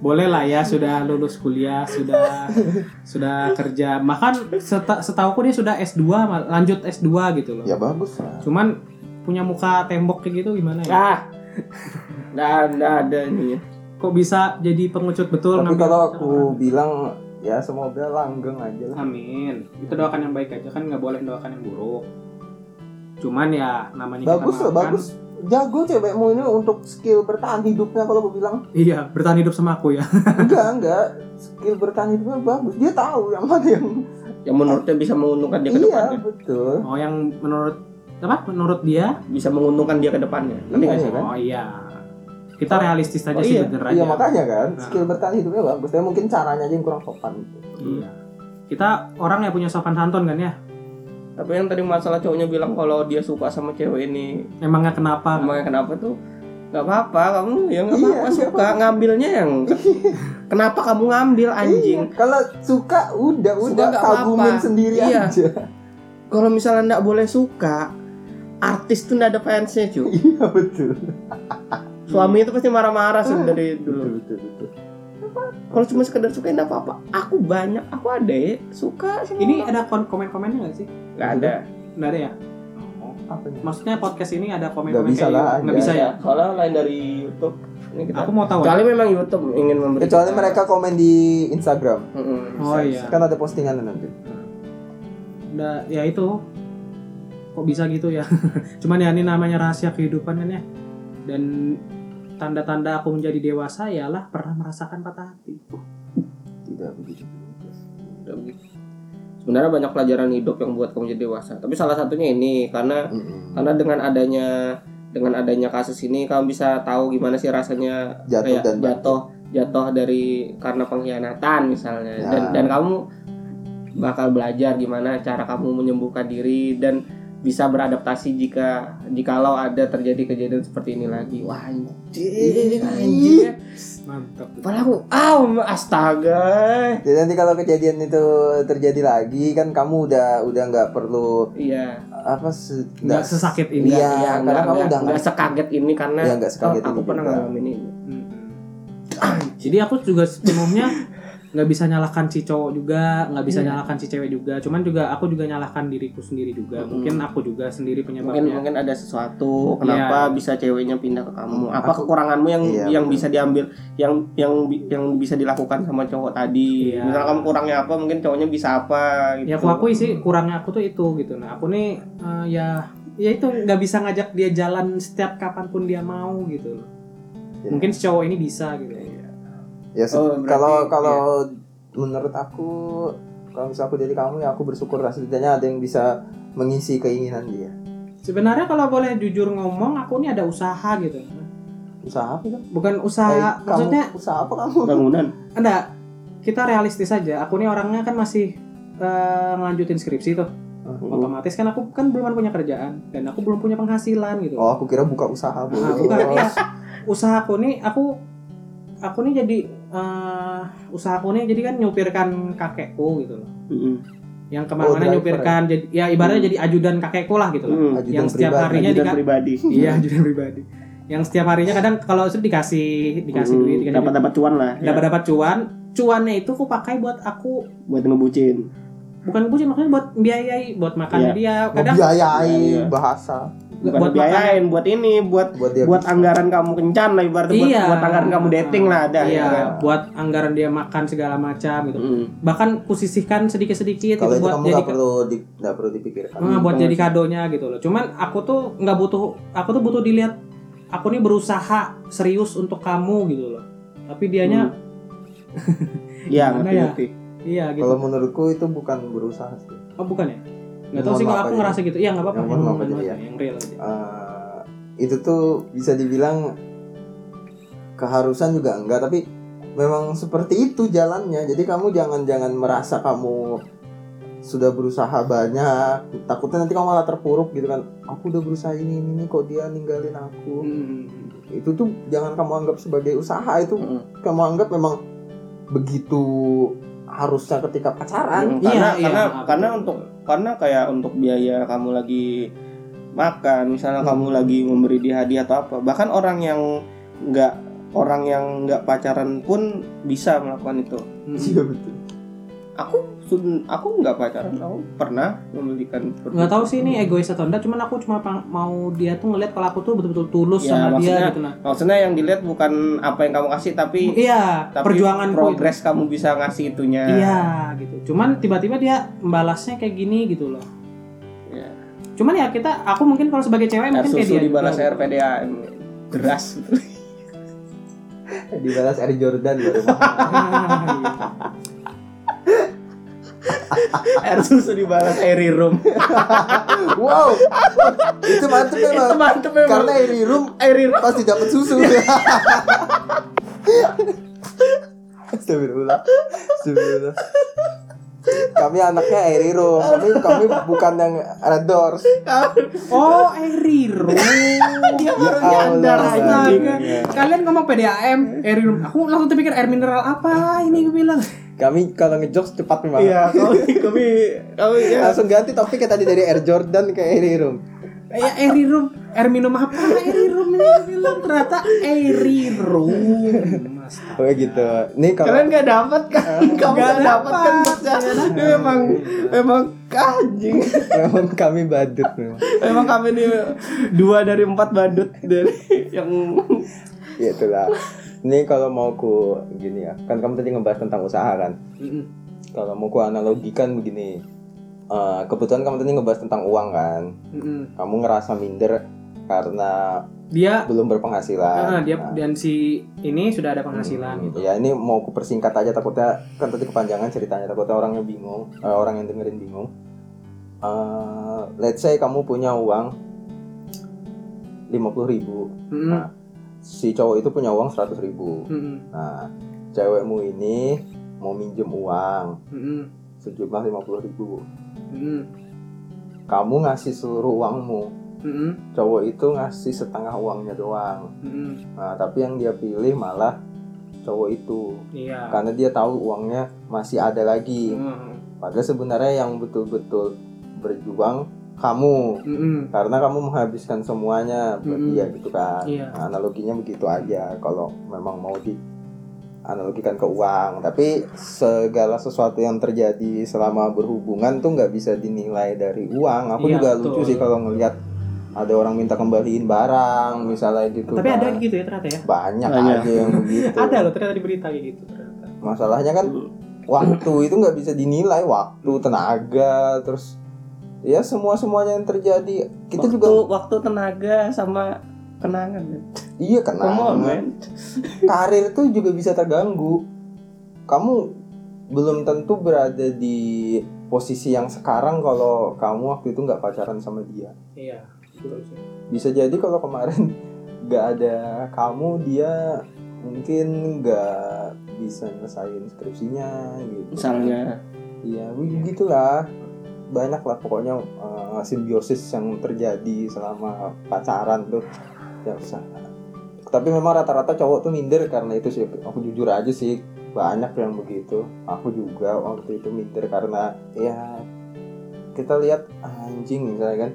D: boleh lah ya sudah lulus kuliah sudah sudah kerja bahkan seta, setauku dia sudah S2 mal- lanjut S2 gitu loh
C: ya bagus lah.
D: cuman punya muka tembok kayak gitu gimana ya?
A: ah nggak nggak ada nih
D: Kok bisa jadi pengecut betul?
C: Tapi
D: ngambil
C: kalau
D: keputusan
C: aku
D: orang?
C: bilang ya semoga langgeng aja lah.
D: Amin. Itu doakan yang baik aja kan nggak boleh doakan yang buruk. Cuman ya namanya
C: Bagus
A: kan?
D: kita
C: loh,
D: makan.
C: bagus. Jago cewekmu ini untuk skill bertahan hidupnya kalau aku bilang.
D: Iya, bertahan hidup sama aku ya.
C: Enggak, enggak. Skill bertahan hidupnya bagus. Dia tahu yang mana yang
A: yang menurutnya bisa menguntungkan dia ke
C: Iya,
A: depannya
C: betul.
D: Oh, yang menurut apa? Menurut dia?
A: bisa menguntungkan dia ke depannya nanti nggak sih
C: Iya, kan?
D: Oh iya. Kita realistis
A: Oh,
D: aja sih
A: iya.
D: bener
C: Iya,
D: aja.
C: makanya kan
D: Nah.
C: skill bertahan hidupnya bagus. Tapi mungkin caranya aja yang kurang sopan gitu.
D: Iya. Kita orang yang punya sopan santun kan ya.
A: tapi yang tadi masalah cowoknya bilang kalau dia suka sama cewek ini
D: Emangnya kenapa?
A: emangnya kenapa tuh nggak apa-apa kamu ya nggak
C: Iya,
A: apa-apa
C: nggak
A: suka ngambilnya yang kenapa kamu ngambil anjing
C: Iya, kalau suka udah
A: Suka
C: udah
A: nggak
C: kagumin
A: apa-apa.
C: sendiri
A: Iya.
C: aja.
A: kalau misalnya nggak boleh suka artis tuh nggak ada fansnya cuy
C: Iya, betul.
A: suami itu pasti marah-marah sih dari
C: Betul,
A: dulu
C: betul, betul.
A: kalau cuma sekedar suka ya nggak apa-apa aku banyak aku ada ya suka sama
D: Ini
A: orang.
D: ada kon- komen-komennya nggak sih?
A: nggak ada
D: Nggak ada ya?
C: Apa nih?
D: Maksudnya podcast ini
C: Nggak
D: ada komen-komen
C: bisa
D: kayak
C: lah,
D: gitu? Nggak
C: ada.
D: bisa ya?
A: soalnya lain dari YouTube ini kita
D: Aku mau tahu.
A: kecuali memang YouTube ingin memberi
C: Kecuali
A: kita-
C: mereka komen di Instagram.
A: Mm-mm,
D: Oh
A: bisa.
D: iya.
C: Kan ada postingan nanti.
D: Nah, ya itu kok bisa gitu ya cuman ya ini namanya rahasia kehidupan kan ya dan tanda-tanda aku menjadi dewasa ialah pernah merasakan patah hati
C: Tidak begitu.
A: Udah begitu. sebenarnya banyak pelajaran hidup yang buat kamu jadi dewasa tapi salah satunya ini karena
C: Mm-mm.
A: karena dengan adanya dengan adanya kasus ini kamu bisa tahu gimana sih rasanya
C: Jatuh
A: kayak
C: dan
A: jatuh jatuh dari karena pengkhianatan misalnya
C: Ya.
A: dan dan kamu bakal belajar gimana cara kamu menyembuhkan diri dan bisa beradaptasi jika jikalau ada terjadi kejadian seperti ini lagi wah
C: Iya.
A: anjing anjing ya.
D: mantap
A: Kepala aku aw astaga
C: Jadi Ya, nanti kalau kejadian itu terjadi lagi kan kamu udah udah nggak perlu
A: iya
C: apa se-
D: nggak sesakit ini
C: Iya,
A: iya nggak
C: karena kamu
A: nggak-
C: udah nggak-
A: nggak sekaget ini karena
C: Iya, nggak sekaget
A: oh, aku
C: ini
A: pernah
C: juga.
A: ngalamin ini
D: Mm-mm. jadi aku juga sebelumnya nggak bisa nyalahkan si cowok juga nggak
A: Iya.
D: bisa nyalahkan si cewek juga cuman juga aku juga nyalahkan diriku sendiri juga
A: Mm-mm.
D: mungkin aku juga sendiri
A: mungkin
D: penyebabnya
A: mungkin ada sesuatu kenapa
D: Iya.
A: bisa ceweknya pindah ke kamu apa
C: Aku-
A: kekuranganmu yang
C: Iya,
A: yang
C: betul.
A: bisa diambil yang yang bi- yang bisa dilakukan sama cowok tadi
D: Iya.
A: misalnya kamu kurangnya apa mungkin cowoknya bisa apa gitu
D: ya aku akui sih kurangnya aku tuh itu gitu nah aku nih eh, ya ya itu nggak bisa ngajak dia jalan setiap kapanpun dia mau gitu loh
C: Iya.
D: mungkin si cowok ini bisa gitu
C: ya se-
A: Oh, berarti-
C: kalau kalau menurut aku kalau misalnya aku jadi kamu ya aku bersyukur lah setidaknya ada yang bisa mengisi keinginan dia.
D: sebenarnya kalau boleh jujur ngomong aku nih ada usaha gitu
C: Usaha apa kan?
D: bukan usaha maksudnya
C: kamu, usaha apa kamu?
A: bangunan
D: enggak kita realistis aja aku nih orangnya kan masih eh, ngelanjutin skripsi tuh
C: Hmm.
D: otomatis kan aku kan belum punya kerjaan dan aku belum punya penghasilan gitu
C: Oh, aku kira buka usaha, Bu.
A: Ah,
D: Nah, bukan
A: iya.
D: ya. Usahaku nih aku aku nih jadi eh usahaku nih jadi kan nyupirkan kakekku gitu loh.
A: Mm-mm.
D: Yang
C: Oh,
D: kemana-mana
C: driver.
D: nyupirkan jadi ya ibaratnya
A: Hmm.
D: jadi ajudan kakekku lah gitu loh.
A: Mm.
C: Ajudan
D: yang setiap
C: pribadi.
D: harinya
A: Ajudan
D: dika-
A: pribadi
D: Iya, ajudan pribadi. Yang setiap harinya kadang kalau itu dikasih dikasih
A: Hmm,
D: duit dikasih
A: dapat dapat cuan lah
D: duit.
A: ya,
D: dapat-dapat cuan. Cuannya itu aku pakai buat aku
A: buat ngebucin
D: bukan bucin maksudnya buat biayai buat makan
C: Oh,
D: dia. Kadang
A: Iya, iya.
C: Ngebiayai bahasa
A: bukan
D: Buat
A: buat biayain buat ini buat
C: buat dia.
A: buat
C: Iya, bisa.
A: anggaran kamu kencan lah ibaratnya buat-
D: Iya.
A: buat, anggaran kamu dating lah ada
D: iya,
A: ya kan?
D: buat anggaran dia makan segala macam gitu.
A: Mm.
D: Bahkan kusisihkan sedikit-sedikit
C: Kalau
D: gitu
C: itu
D: buat
C: kamu
D: jadi
C: nggak perlu di, nggak perlu dipikirkan.
D: Nah, buat
A: banget
D: jadi kadonya gitu loh. Cuman aku tuh nggak butuh, aku tuh butuh dilihat. Aku nih berusaha serius untuk kamu gitu loh. Tapi dianya,
C: Hmm.
A: Iya,
D: Gimana
A: ngerti
D: ya?
A: ngerti
D: iya gitu.
C: Kalau menurutku itu bukan berusaha sih.
D: Oh bukan ya? Nggak tahu
C: Mohon
D: sih kalau
C: maaf
D: aku
C: aja.
D: ngerasa gitu. Iya nggak apa-apa.
C: Ya, mohon maaf aja, iya.
D: Mohon maaf, Yang real aja.
C: eh itu tuh bisa dibilang keharusan juga enggak tapi memang seperti itu jalannya jadi kamu jangan jangan merasa kamu sudah berusaha banyak takutnya nanti kamu malah terpuruk gitu kan aku udah berusaha ini ini, ini kok dia ninggalin aku
D: Hmm.
C: itu tuh jangan kamu anggap sebagai usaha itu
A: Mm.
C: kamu anggap memang begitu harusnya ketika pacaran
A: Mm, karena
D: Iya, iya,
A: karena
D: maaf.
A: karena untuk karena kayak untuk biaya kamu lagi makan misalnya kamu lagi memberi dia hadiah atau apa bahkan orang yang nggak orang yang nggak pacaran pun bisa melakukan itu
D: Hmm.
C: iya betul
A: aku sun- aku nggak pacaran aku pernah membelikan
D: nggak tahu sih
C: Hmm.
D: ini egois atau enggak cuman aku cuma pang- mau dia tuh ngeliat kalau aku tuh betul-betul tulus
A: Ya,
D: sama dia
A: maksudnya-
D: gitu nah
A: maksudnya yang dilihat bukan apa yang kamu kasih tapi
D: iya
A: tapi
D: perjuangan
A: progres kamu bisa ngasih itunya
D: Iya gitu. Cuman tiba-tiba dia membalasnya kayak gini gitu loh.
A: Iya.
D: Cuman ya kita, aku mungkin kalau sebagai cewek
A: air
D: mungkin kayak
A: susu
D: dia. gitu.
A: dibalas
D: juga.
A: air PDAM deras gitu.
C: dibalas Air Jordan baru mahal.
A: air susu dibalas air room
C: wow itu mantep
A: itu
C: memang
A: mantep memang
C: karena Air Room
A: air room
C: pasti dapat susu Astagfirullah Astagfirullah kami anaknya Air Room kami kami bukan yang Red Doors
D: Oh, Eriro.
A: Ya
D: dia orangnya
C: Allah.
D: andar astaga.
C: Iya.
D: Kalian ngomong PDAM, Eriro. Aku langsung terpikir air mineral apa ini gue bilang.
C: kami kalau ngejokes cepat memang
A: iya kami kami kami ya
C: langsung ganti topik tadi dari Air Jordan ke Air Room
D: Ya Eriro, air minum apa? Eriro ini gue bilang ternyata Eriro. Astaga.
C: oh gitu nih kalau Eh,
A: kalian nggak dapat kan kamu
D: Nggak
A: nggak dapat kan
D: dapat.
A: bocah ini memang memang anjing
C: memang kami badut memang
A: memang kami ini dua dari empat badut dari yang
C: ya itulah ini kalau mau ku gini ya kan kamu tadi ngebahas tentang usaha kan
D: Mm-mm.
C: kalau mau ku analogikan kan begini Eh, kebetulan kamu tadi ngebahas tentang uang kan
D: Mm-mm.
C: kamu ngerasa minder karena
D: Dia
C: belum berpenghasilan
D: Ah, dia
C: Nah,
D: dan si ini sudah ada penghasilan gitu.
C: ya ini mau ku persingkat aja takutnya kan tadi kepanjangan ceritanya takutnya orangnya bingung eh, orang yang dengerin bingung Eh, let's say kamu punya uang 50.000 ribu
D: Mm-mm.
C: si cowok itu punya uang 100.000 ribu
D: Mm-mm.
C: Nah, cewekmu ini mau minjem uang
D: Mm-mm.
C: sejumlah 50.000 ribu.
D: Mm-mm.
C: Kamu ngasih seluruh uangmu,
D: Mm-mm.
C: cowok itu ngasih setengah uangnya doang.
D: Mm-mm.
C: Nah, tapi yang dia pilih malah cowok itu
D: Iya.
C: karena dia tahu uangnya masih ada lagi.
D: Mm.
C: Padahal sebenarnya yang betul-betul berjuang kamu
D: Mm-mm.
C: karena kamu menghabiskan semuanya buat
D: Mm-mm.
C: dia gitu kan.
D: Iya.
C: Nah, analoginya begitu aja kalau memang mau di analogikan ke uang tapi segala sesuatu yang terjadi selama berhubungan tuh nggak bisa dinilai dari uang aku
D: Iya,
C: juga
D: betul.
C: lucu sih kalau ngelihat ada orang minta kembaliin barang misalnya gitu
D: Tapi ada
C: kan.
D: gitu ya ternyata ya.
C: banyak,
A: Banyak.
C: aja yang begitu
D: Ada loh ternyata di berita kayak gitu ternyata.
C: masalahnya kan waktu itu nggak bisa dinilai waktu tenaga terus ya semua semuanya yang terjadi kita
A: waktu,
C: juga
A: waktu tenaga sama kenangan ya.
C: iya
A: Come on,
C: kenal
A: man.
C: karir tuh juga bisa terganggu. Kamu belum tentu berada di posisi yang sekarang kalau kamu waktu itu nggak pacaran sama dia.
D: Iya. betul sih.
C: Bisa jadi kalau kemarin nggak ada kamu dia mungkin nggak bisa nyelesain skripsinya gitu.
A: misalnya
C: Iya, begitulah. Banyak lah pokoknya eh, simbiosis yang terjadi selama pacaran tuh. Ya usah. Tapi memang rata-rata cowok tuh minder karena itu sih. Aku jujur aja sih banyak yang begitu. Aku juga waktu itu minder karena ya kita lihat anjing misalnya kan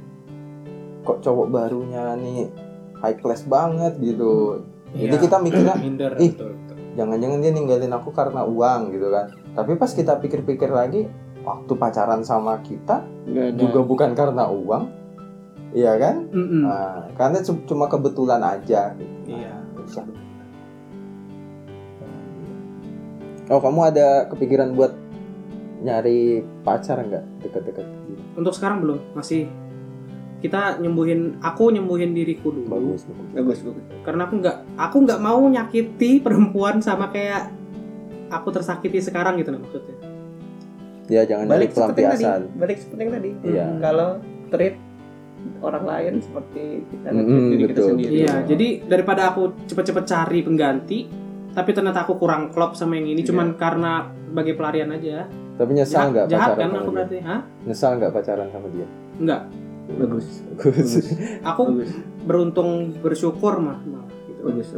C: kok cowok barunya nih high class banget gitu. Jadi
D: Iya.
C: kita mikirnya
D: minder
C: Ih.
D: betul, betul.
C: jangan-jangan dia ninggalin aku karena uang gitu kan tapi pas kita pikir-pikir lagi waktu pacaran sama kita
A: nggak ada
C: juga bukan karena uang iya kan
D: Mm-mm.
C: nah, karena cu- cuma kebetulan aja gitu.
D: Hmm. Iya.
C: Nah, bisa. oh kamu ada kepikiran buat nyari pacar nggak deket-deket gini?
D: Untuk sekarang belum masih kita nyembuhin aku nyembuhin diriku dulu
C: bagus bagus.
A: bagus bagus
D: karena aku nggak aku nggak mau nyakiti perempuan sama kayak aku tersakiti sekarang gitu nah maksudnya
C: ya jangan
A: balik
C: nyari
A: seperti yang tadi
C: pelampiasan
A: balik seperti yang tadi Hmm,
C: Iya.
A: kalau treat orang lain seperti kita
C: Mm-mm,
A: treat diri kita
C: Hmm, betul.
A: sendiri
D: Iya, jadi daripada aku cepet-cepet cari pengganti, tapi ternyata aku kurang klop sama yang ini,
A: Iya.
D: cuman karena sebagai pelarian aja.
C: tapi nyesal nggak
D: jahat, jahat
C: pacaran
D: kan aku
C: sama dia
D: berarti, hah?
C: nyesal nggak pacaran sama dia
D: Enggak.
A: bagus
C: bagus
D: Aku
A: bagus
D: beruntung bersyukur mah, malah, gitu.
A: bagus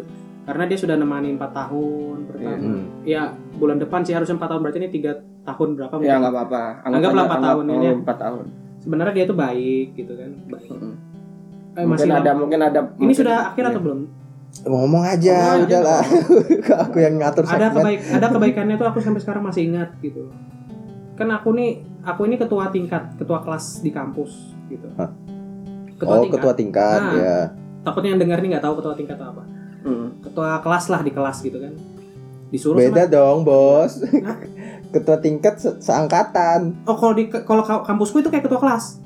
D: Karena dia sudah nemani 4 tahun pertama.
C: Hmm.
D: Ya, bulan depan sih harusnya 4 tahun, berarti ini 3 tahun berapa
A: ya
D: mungkin.
A: nggak apa-apa
D: Anggaplah empat tahun ini ya.
A: empat tahun
D: Sebenarnya dia tuh baik gitu kan. Baik.
A: Mm-mm.
D: Eh,
A: Hmm. mungkin ada mungkin ada
D: Ini
A: mungkin-
D: sudah akhir
A: Iya.
D: atau belum?
C: ngomong
D: Ngomong
C: aja
D: aja
C: udahlah aku yang ngatur
D: Ada
C: segmen
D: kebaik ada kebaikannya tuh aku sampai sekarang masih ingat gitu. kan aku nih aku ini ketua tingkat ketua kelas di kampus gitu
C: Hah?
D: ketua
C: oh
D: tingkat
C: ketua tingkat
D: Nah.
C: ya
D: takutnya yang dengar nih nggak tahu ketua tingkat atau apa
F: Hmm.
D: ketua kelas lah di kelas gitu kan disuruh
C: beda dong bos
D: Hah?
C: ketua tingkat se- seangkatan
D: sama, oh kalau di kalau ka- kampusku itu kayak ketua kelas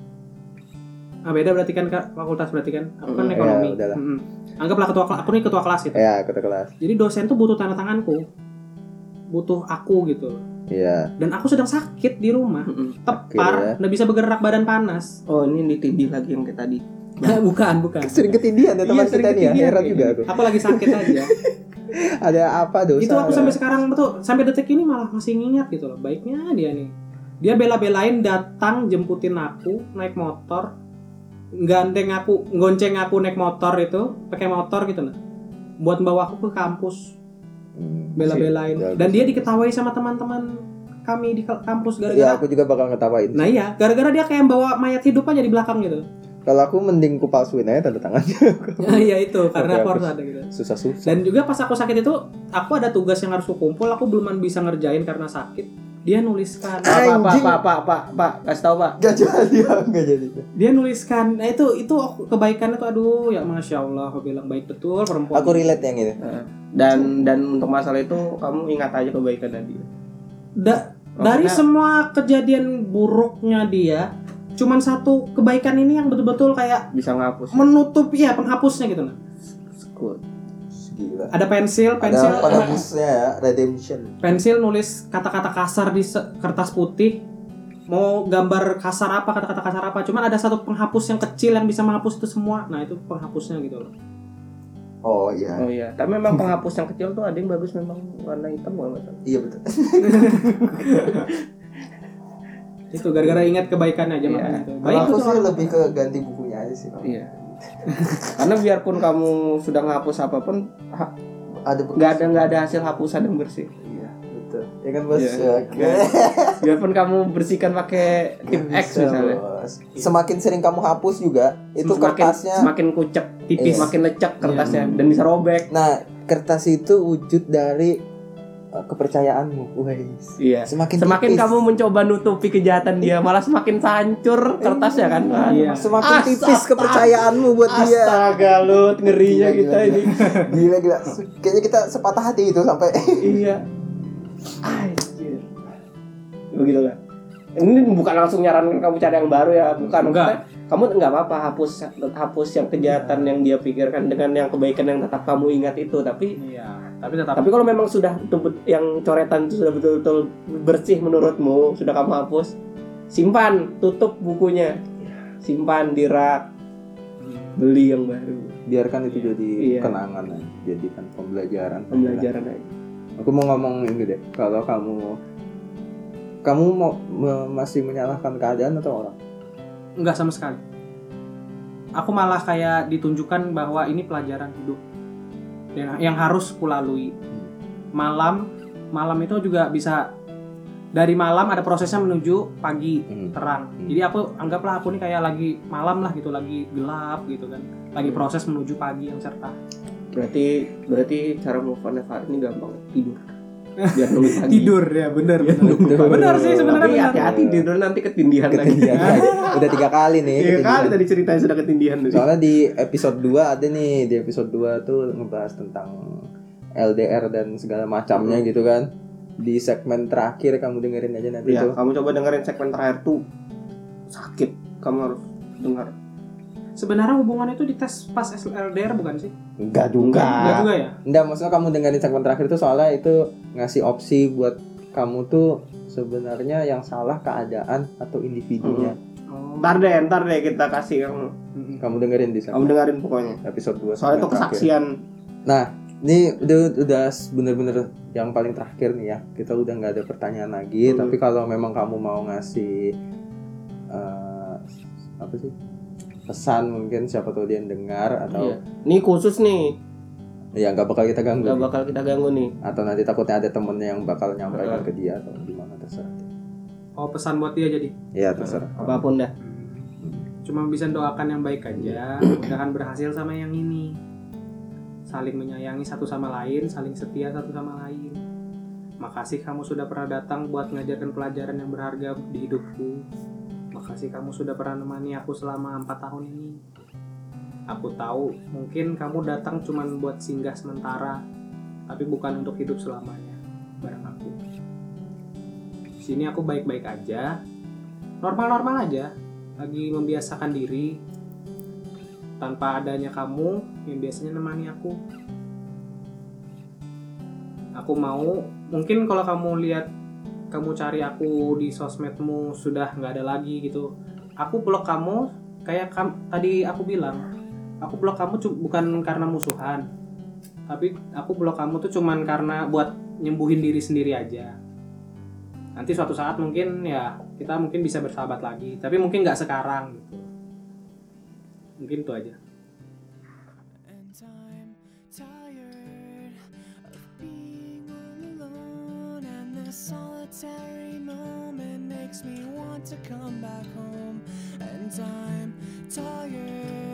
D: nah beda berarti kan Kak, fakultas berarti kan aku kan
F: Hmm,
D: ekonomi
C: ya, udahlah.
D: Mm-mm. anggaplah ketua kelas aku nih ketua kelas gitu
C: ya ketua kelas
D: jadi dosen tuh butuh tanda tanganku butuh aku gitu
C: ya
D: dan aku sedang sakit di rumah
C: Oke, ya.
D: tepar nggak bisa bergerak badan panas
A: Oh ini ditindih lagi yang kayak tadi.
D: bukan bukan
C: sering ketindihan ya teman
D: Iya, sering
C: kita nih ya
D: ketindihan
C: heran
D: kayaknya.
C: juga aku
D: aku lagi sakit aja
C: ada apa dosa
D: itu aku
C: ya?
D: sampai sekarang tuh sampai detik ini malah masih ngingat gitu loh baiknya dia nih dia bela-belain datang jemputin aku naik motor gandeng aku gonceng aku naik motor itu pakai motor gitu nah buat bawa aku ke kampus
C: Hmm, sih,
D: bela-belain
C: bagus.
D: dan dia diketahui sama teman-teman kami di ke- kampus
C: ya
D: gara-gara
C: aku juga bakal ngetawain
D: nah iya gara-gara dia kayak bawa mayat hidup aja di belakang gitu
C: kalau aku mending ku palsuin aja tanda tangannya
D: Nah, iya itu karena
C: Oke,
D: aku harus
C: oke.
D: ada gitu
C: susah susah
D: Dan juga pas aku sakit itu, aku ada tugas yang harus kukumpul, aku belum bisa ngerjain karena sakit. Dia nuliskan,
A: Pak, Pak, Pak,
B: Anjing.
A: Pak, Pak, Pak, Pak, kasih tahu Pak.
B: Gak jadi ya, gak jadi.
D: dia nuliskan. Nah itu itu aku- kebaikan itu aduh ya masya Allah, aku bilang baik betul perempuan.
C: aku relate yang ini
A: Eh, Dan dan untuk masalah itu kamu ingat aja kebaikan tadi.
D: Da- dari
A: Maksudnya-
D: semua kejadian buruknya dia, cuman satu kebaikan ini yang betul-betul kayak
A: Bisa ngapus.
D: menutup ya penghapusnya gitu nah.
A: Sekut.
B: Gila.
D: Ada pensil, pensil,
B: Ada penebusnya ya, redemption.
D: pensil nulis kata-kata kasar di se- kertas putih mau gambar kasar apa kata-kata kasar apa cuman ada satu penghapus yang kecil yang bisa menghapus itu semua nah itu penghapusnya gitu loh
B: Oh iya,
A: Oh iya, tapi memang penghapus yang kecil tuh ada yang bagus memang warna hitam kalau nggak salah.
B: iya betul.
D: itu gara-gara ingat kebaikannya aja
A: Iya.
D: makanya itu baik
B: Kalau aku
D: itu
B: sih
D: orang.
B: lebih ke ganti bukunya aja sih. Pak.
A: Iya. Karena biarpun kamu sudah ngapus apapun, ha-
B: Ada bekas.
A: nggak ada nggak ada hasil hapusan yang bersih.
B: Iya, betul. Ya kan bos.
A: Iya.
B: Oke.
A: Biarpun kamu bersihkan pakai tip
B: Bisa,
A: X misalnya.
B: Bos. Semakin sering kamu hapus juga, itu
A: Semakin-
B: kertasnya.
A: semakin kucek tipis
B: Iya.
A: makin lecek kertasnya dan bisa robek
B: Nah, kertas itu wujud dari uh, kepercayaanmu, guys.
A: iya
B: Semakin
A: semakin
B: tipis,
A: kamu mencoba nutupi kejahatan dia malah semakin hancur kertasnya kan
D: Iya.
B: semakin
A: Astaga.
B: tipis kepercayaanmu buat dia.
A: astaga lut ngerinya
B: Gila,
A: kita
B: gila,
A: ini
B: Gila gila. Kayaknya kita sepatah hati itu sampai
A: iya anjir begitu kan ini bukan langsung nyarankan kamu cari yang baru ya bukan
D: Enggak.
A: Maksudnya, kamu nggak apa-apa hapus hapus yang kejahatan
D: Iya.
A: yang dia pikirkan dengan yang kebaikan yang tetap kamu ingat itu tapi
D: iya tapi tetap
A: Tapi kalau memang sudah betul yang coretan itu sudah betul-betul bersih menurutmu, sudah kamu hapus, simpan, tutup bukunya.
D: Iya.
A: Simpan di rak, beli yang baru.
C: biarkan itu jadi
A: Iya.
C: kenangan aja. jadikan pembelajaran
A: Pembelajaran
D: Iya.
A: aja.
C: aku mau ngomong ini deh kalau kamu kamu mau me- masih menyalahkan keadaan atau orang
D: nggak sama sekali aku malah kayak ditunjukkan bahwa ini pelajaran hidup yang, yang harus kulalui malam malam itu juga bisa dari malam ada prosesnya menuju pagi terang.
C: Hmm.
D: Jadi aku anggaplah aku nih kayak lagi malam lah gitu, lagi gelap gitu kan. Lagi proses menuju pagi yang cerah.
A: Berarti berarti cara move on Fahri ini gampang tidur. Biar nunggu pagi.
D: ya, bener
C: bener.
D: Bener sih, sebenarnya
A: Tapi
D: bener.
A: hati-hati tidur nanti Iya. ketindihan Kan lagi.
C: ketindihan lagi. udah tiga kali nih
A: Tiga kali
C: ketindihan.
A: tadi ceritanya sudah ketindihan tadi.
C: soalnya di episode 2 ada nih di episode 2 tuh ngebahas tentang LDR dan segala macamnya gitu kan di segmen terakhir kamu dengerin aja nanti
A: Ya,
C: tuh
A: kamu coba dengerin segmen terakhir tuh sakit. Kamu harus dengar.
D: Sebenarnya hubungan itu dites pas LDR bukan sih?
C: enggak juga
D: Enggak juga ya?
C: Enggak, maksudnya kamu dengerin segmen terakhir itu soalnya itu ngasih opsi buat kamu tuh sebenarnya yang salah keadaan atau individunya.
A: Mm-hmm. Ntar deh, ntar deh kita kasih yang
D: Mm-mm.
C: Kamu dengerin di
A: kamu
C: segmen
A: dengerin pokoknya.
C: episode 2
A: Soalnya itu kesaksian
C: Ini udah udah bener-bener yang paling terakhir nih ya. Kita udah nggak ada pertanyaan lagi,
A: Hmm.
C: tapi kalau memang kamu mau ngasih eh, apa sih? pesan mungkin siapa tahu dia yang dengar atau
A: Iya. Ini khusus nih,
C: ya nggak bakal kita ganggu
A: Iya. nggak
C: nih.
A: bakal kita ganggu nih.
C: atau nanti takutnya ada temennya yang bakal
A: Nah.
C: nyampaikan ke dia atau gimana terserah
D: Oh, pesan buat dia jadi.
C: ya terserah
A: Apapun dah.
D: Cuma bisa doakan yang baik aja, mudahan berhasil sama yang ini. Saling menyayangi satu sama lain, saling setia satu sama lain. Makasih kamu sudah pernah datang buat ngajarkan pelajaran yang berharga di hidupku. Makasih kamu sudah pernah menemani aku selama empat tahun ini. Aku tahu mungkin kamu datang cuma buat singgah sementara, tapi bukan untuk hidup selamanya. Bareng aku. Di Sini aku baik-baik aja, normal-normal aja, lagi membiasakan diri. Tanpa adanya kamu yang biasanya nemani aku, aku mau mungkin kalau kamu lihat kamu cari aku di sosmedmu sudah nggak ada lagi gitu aku blok kamu kayak kam- tadi aku bilang aku blok kamu cu- bukan karena musuhan tapi aku blok kamu tuh cuman karena buat nyembuhin diri sendiri aja nanti suatu saat mungkin ya kita mungkin bisa bersahabat lagi tapi mungkin nggak sekarang gitu mungkin itu aja
G: and I'm tired of being all alone. And this solitary moment makes me want to come back home. And I'm tired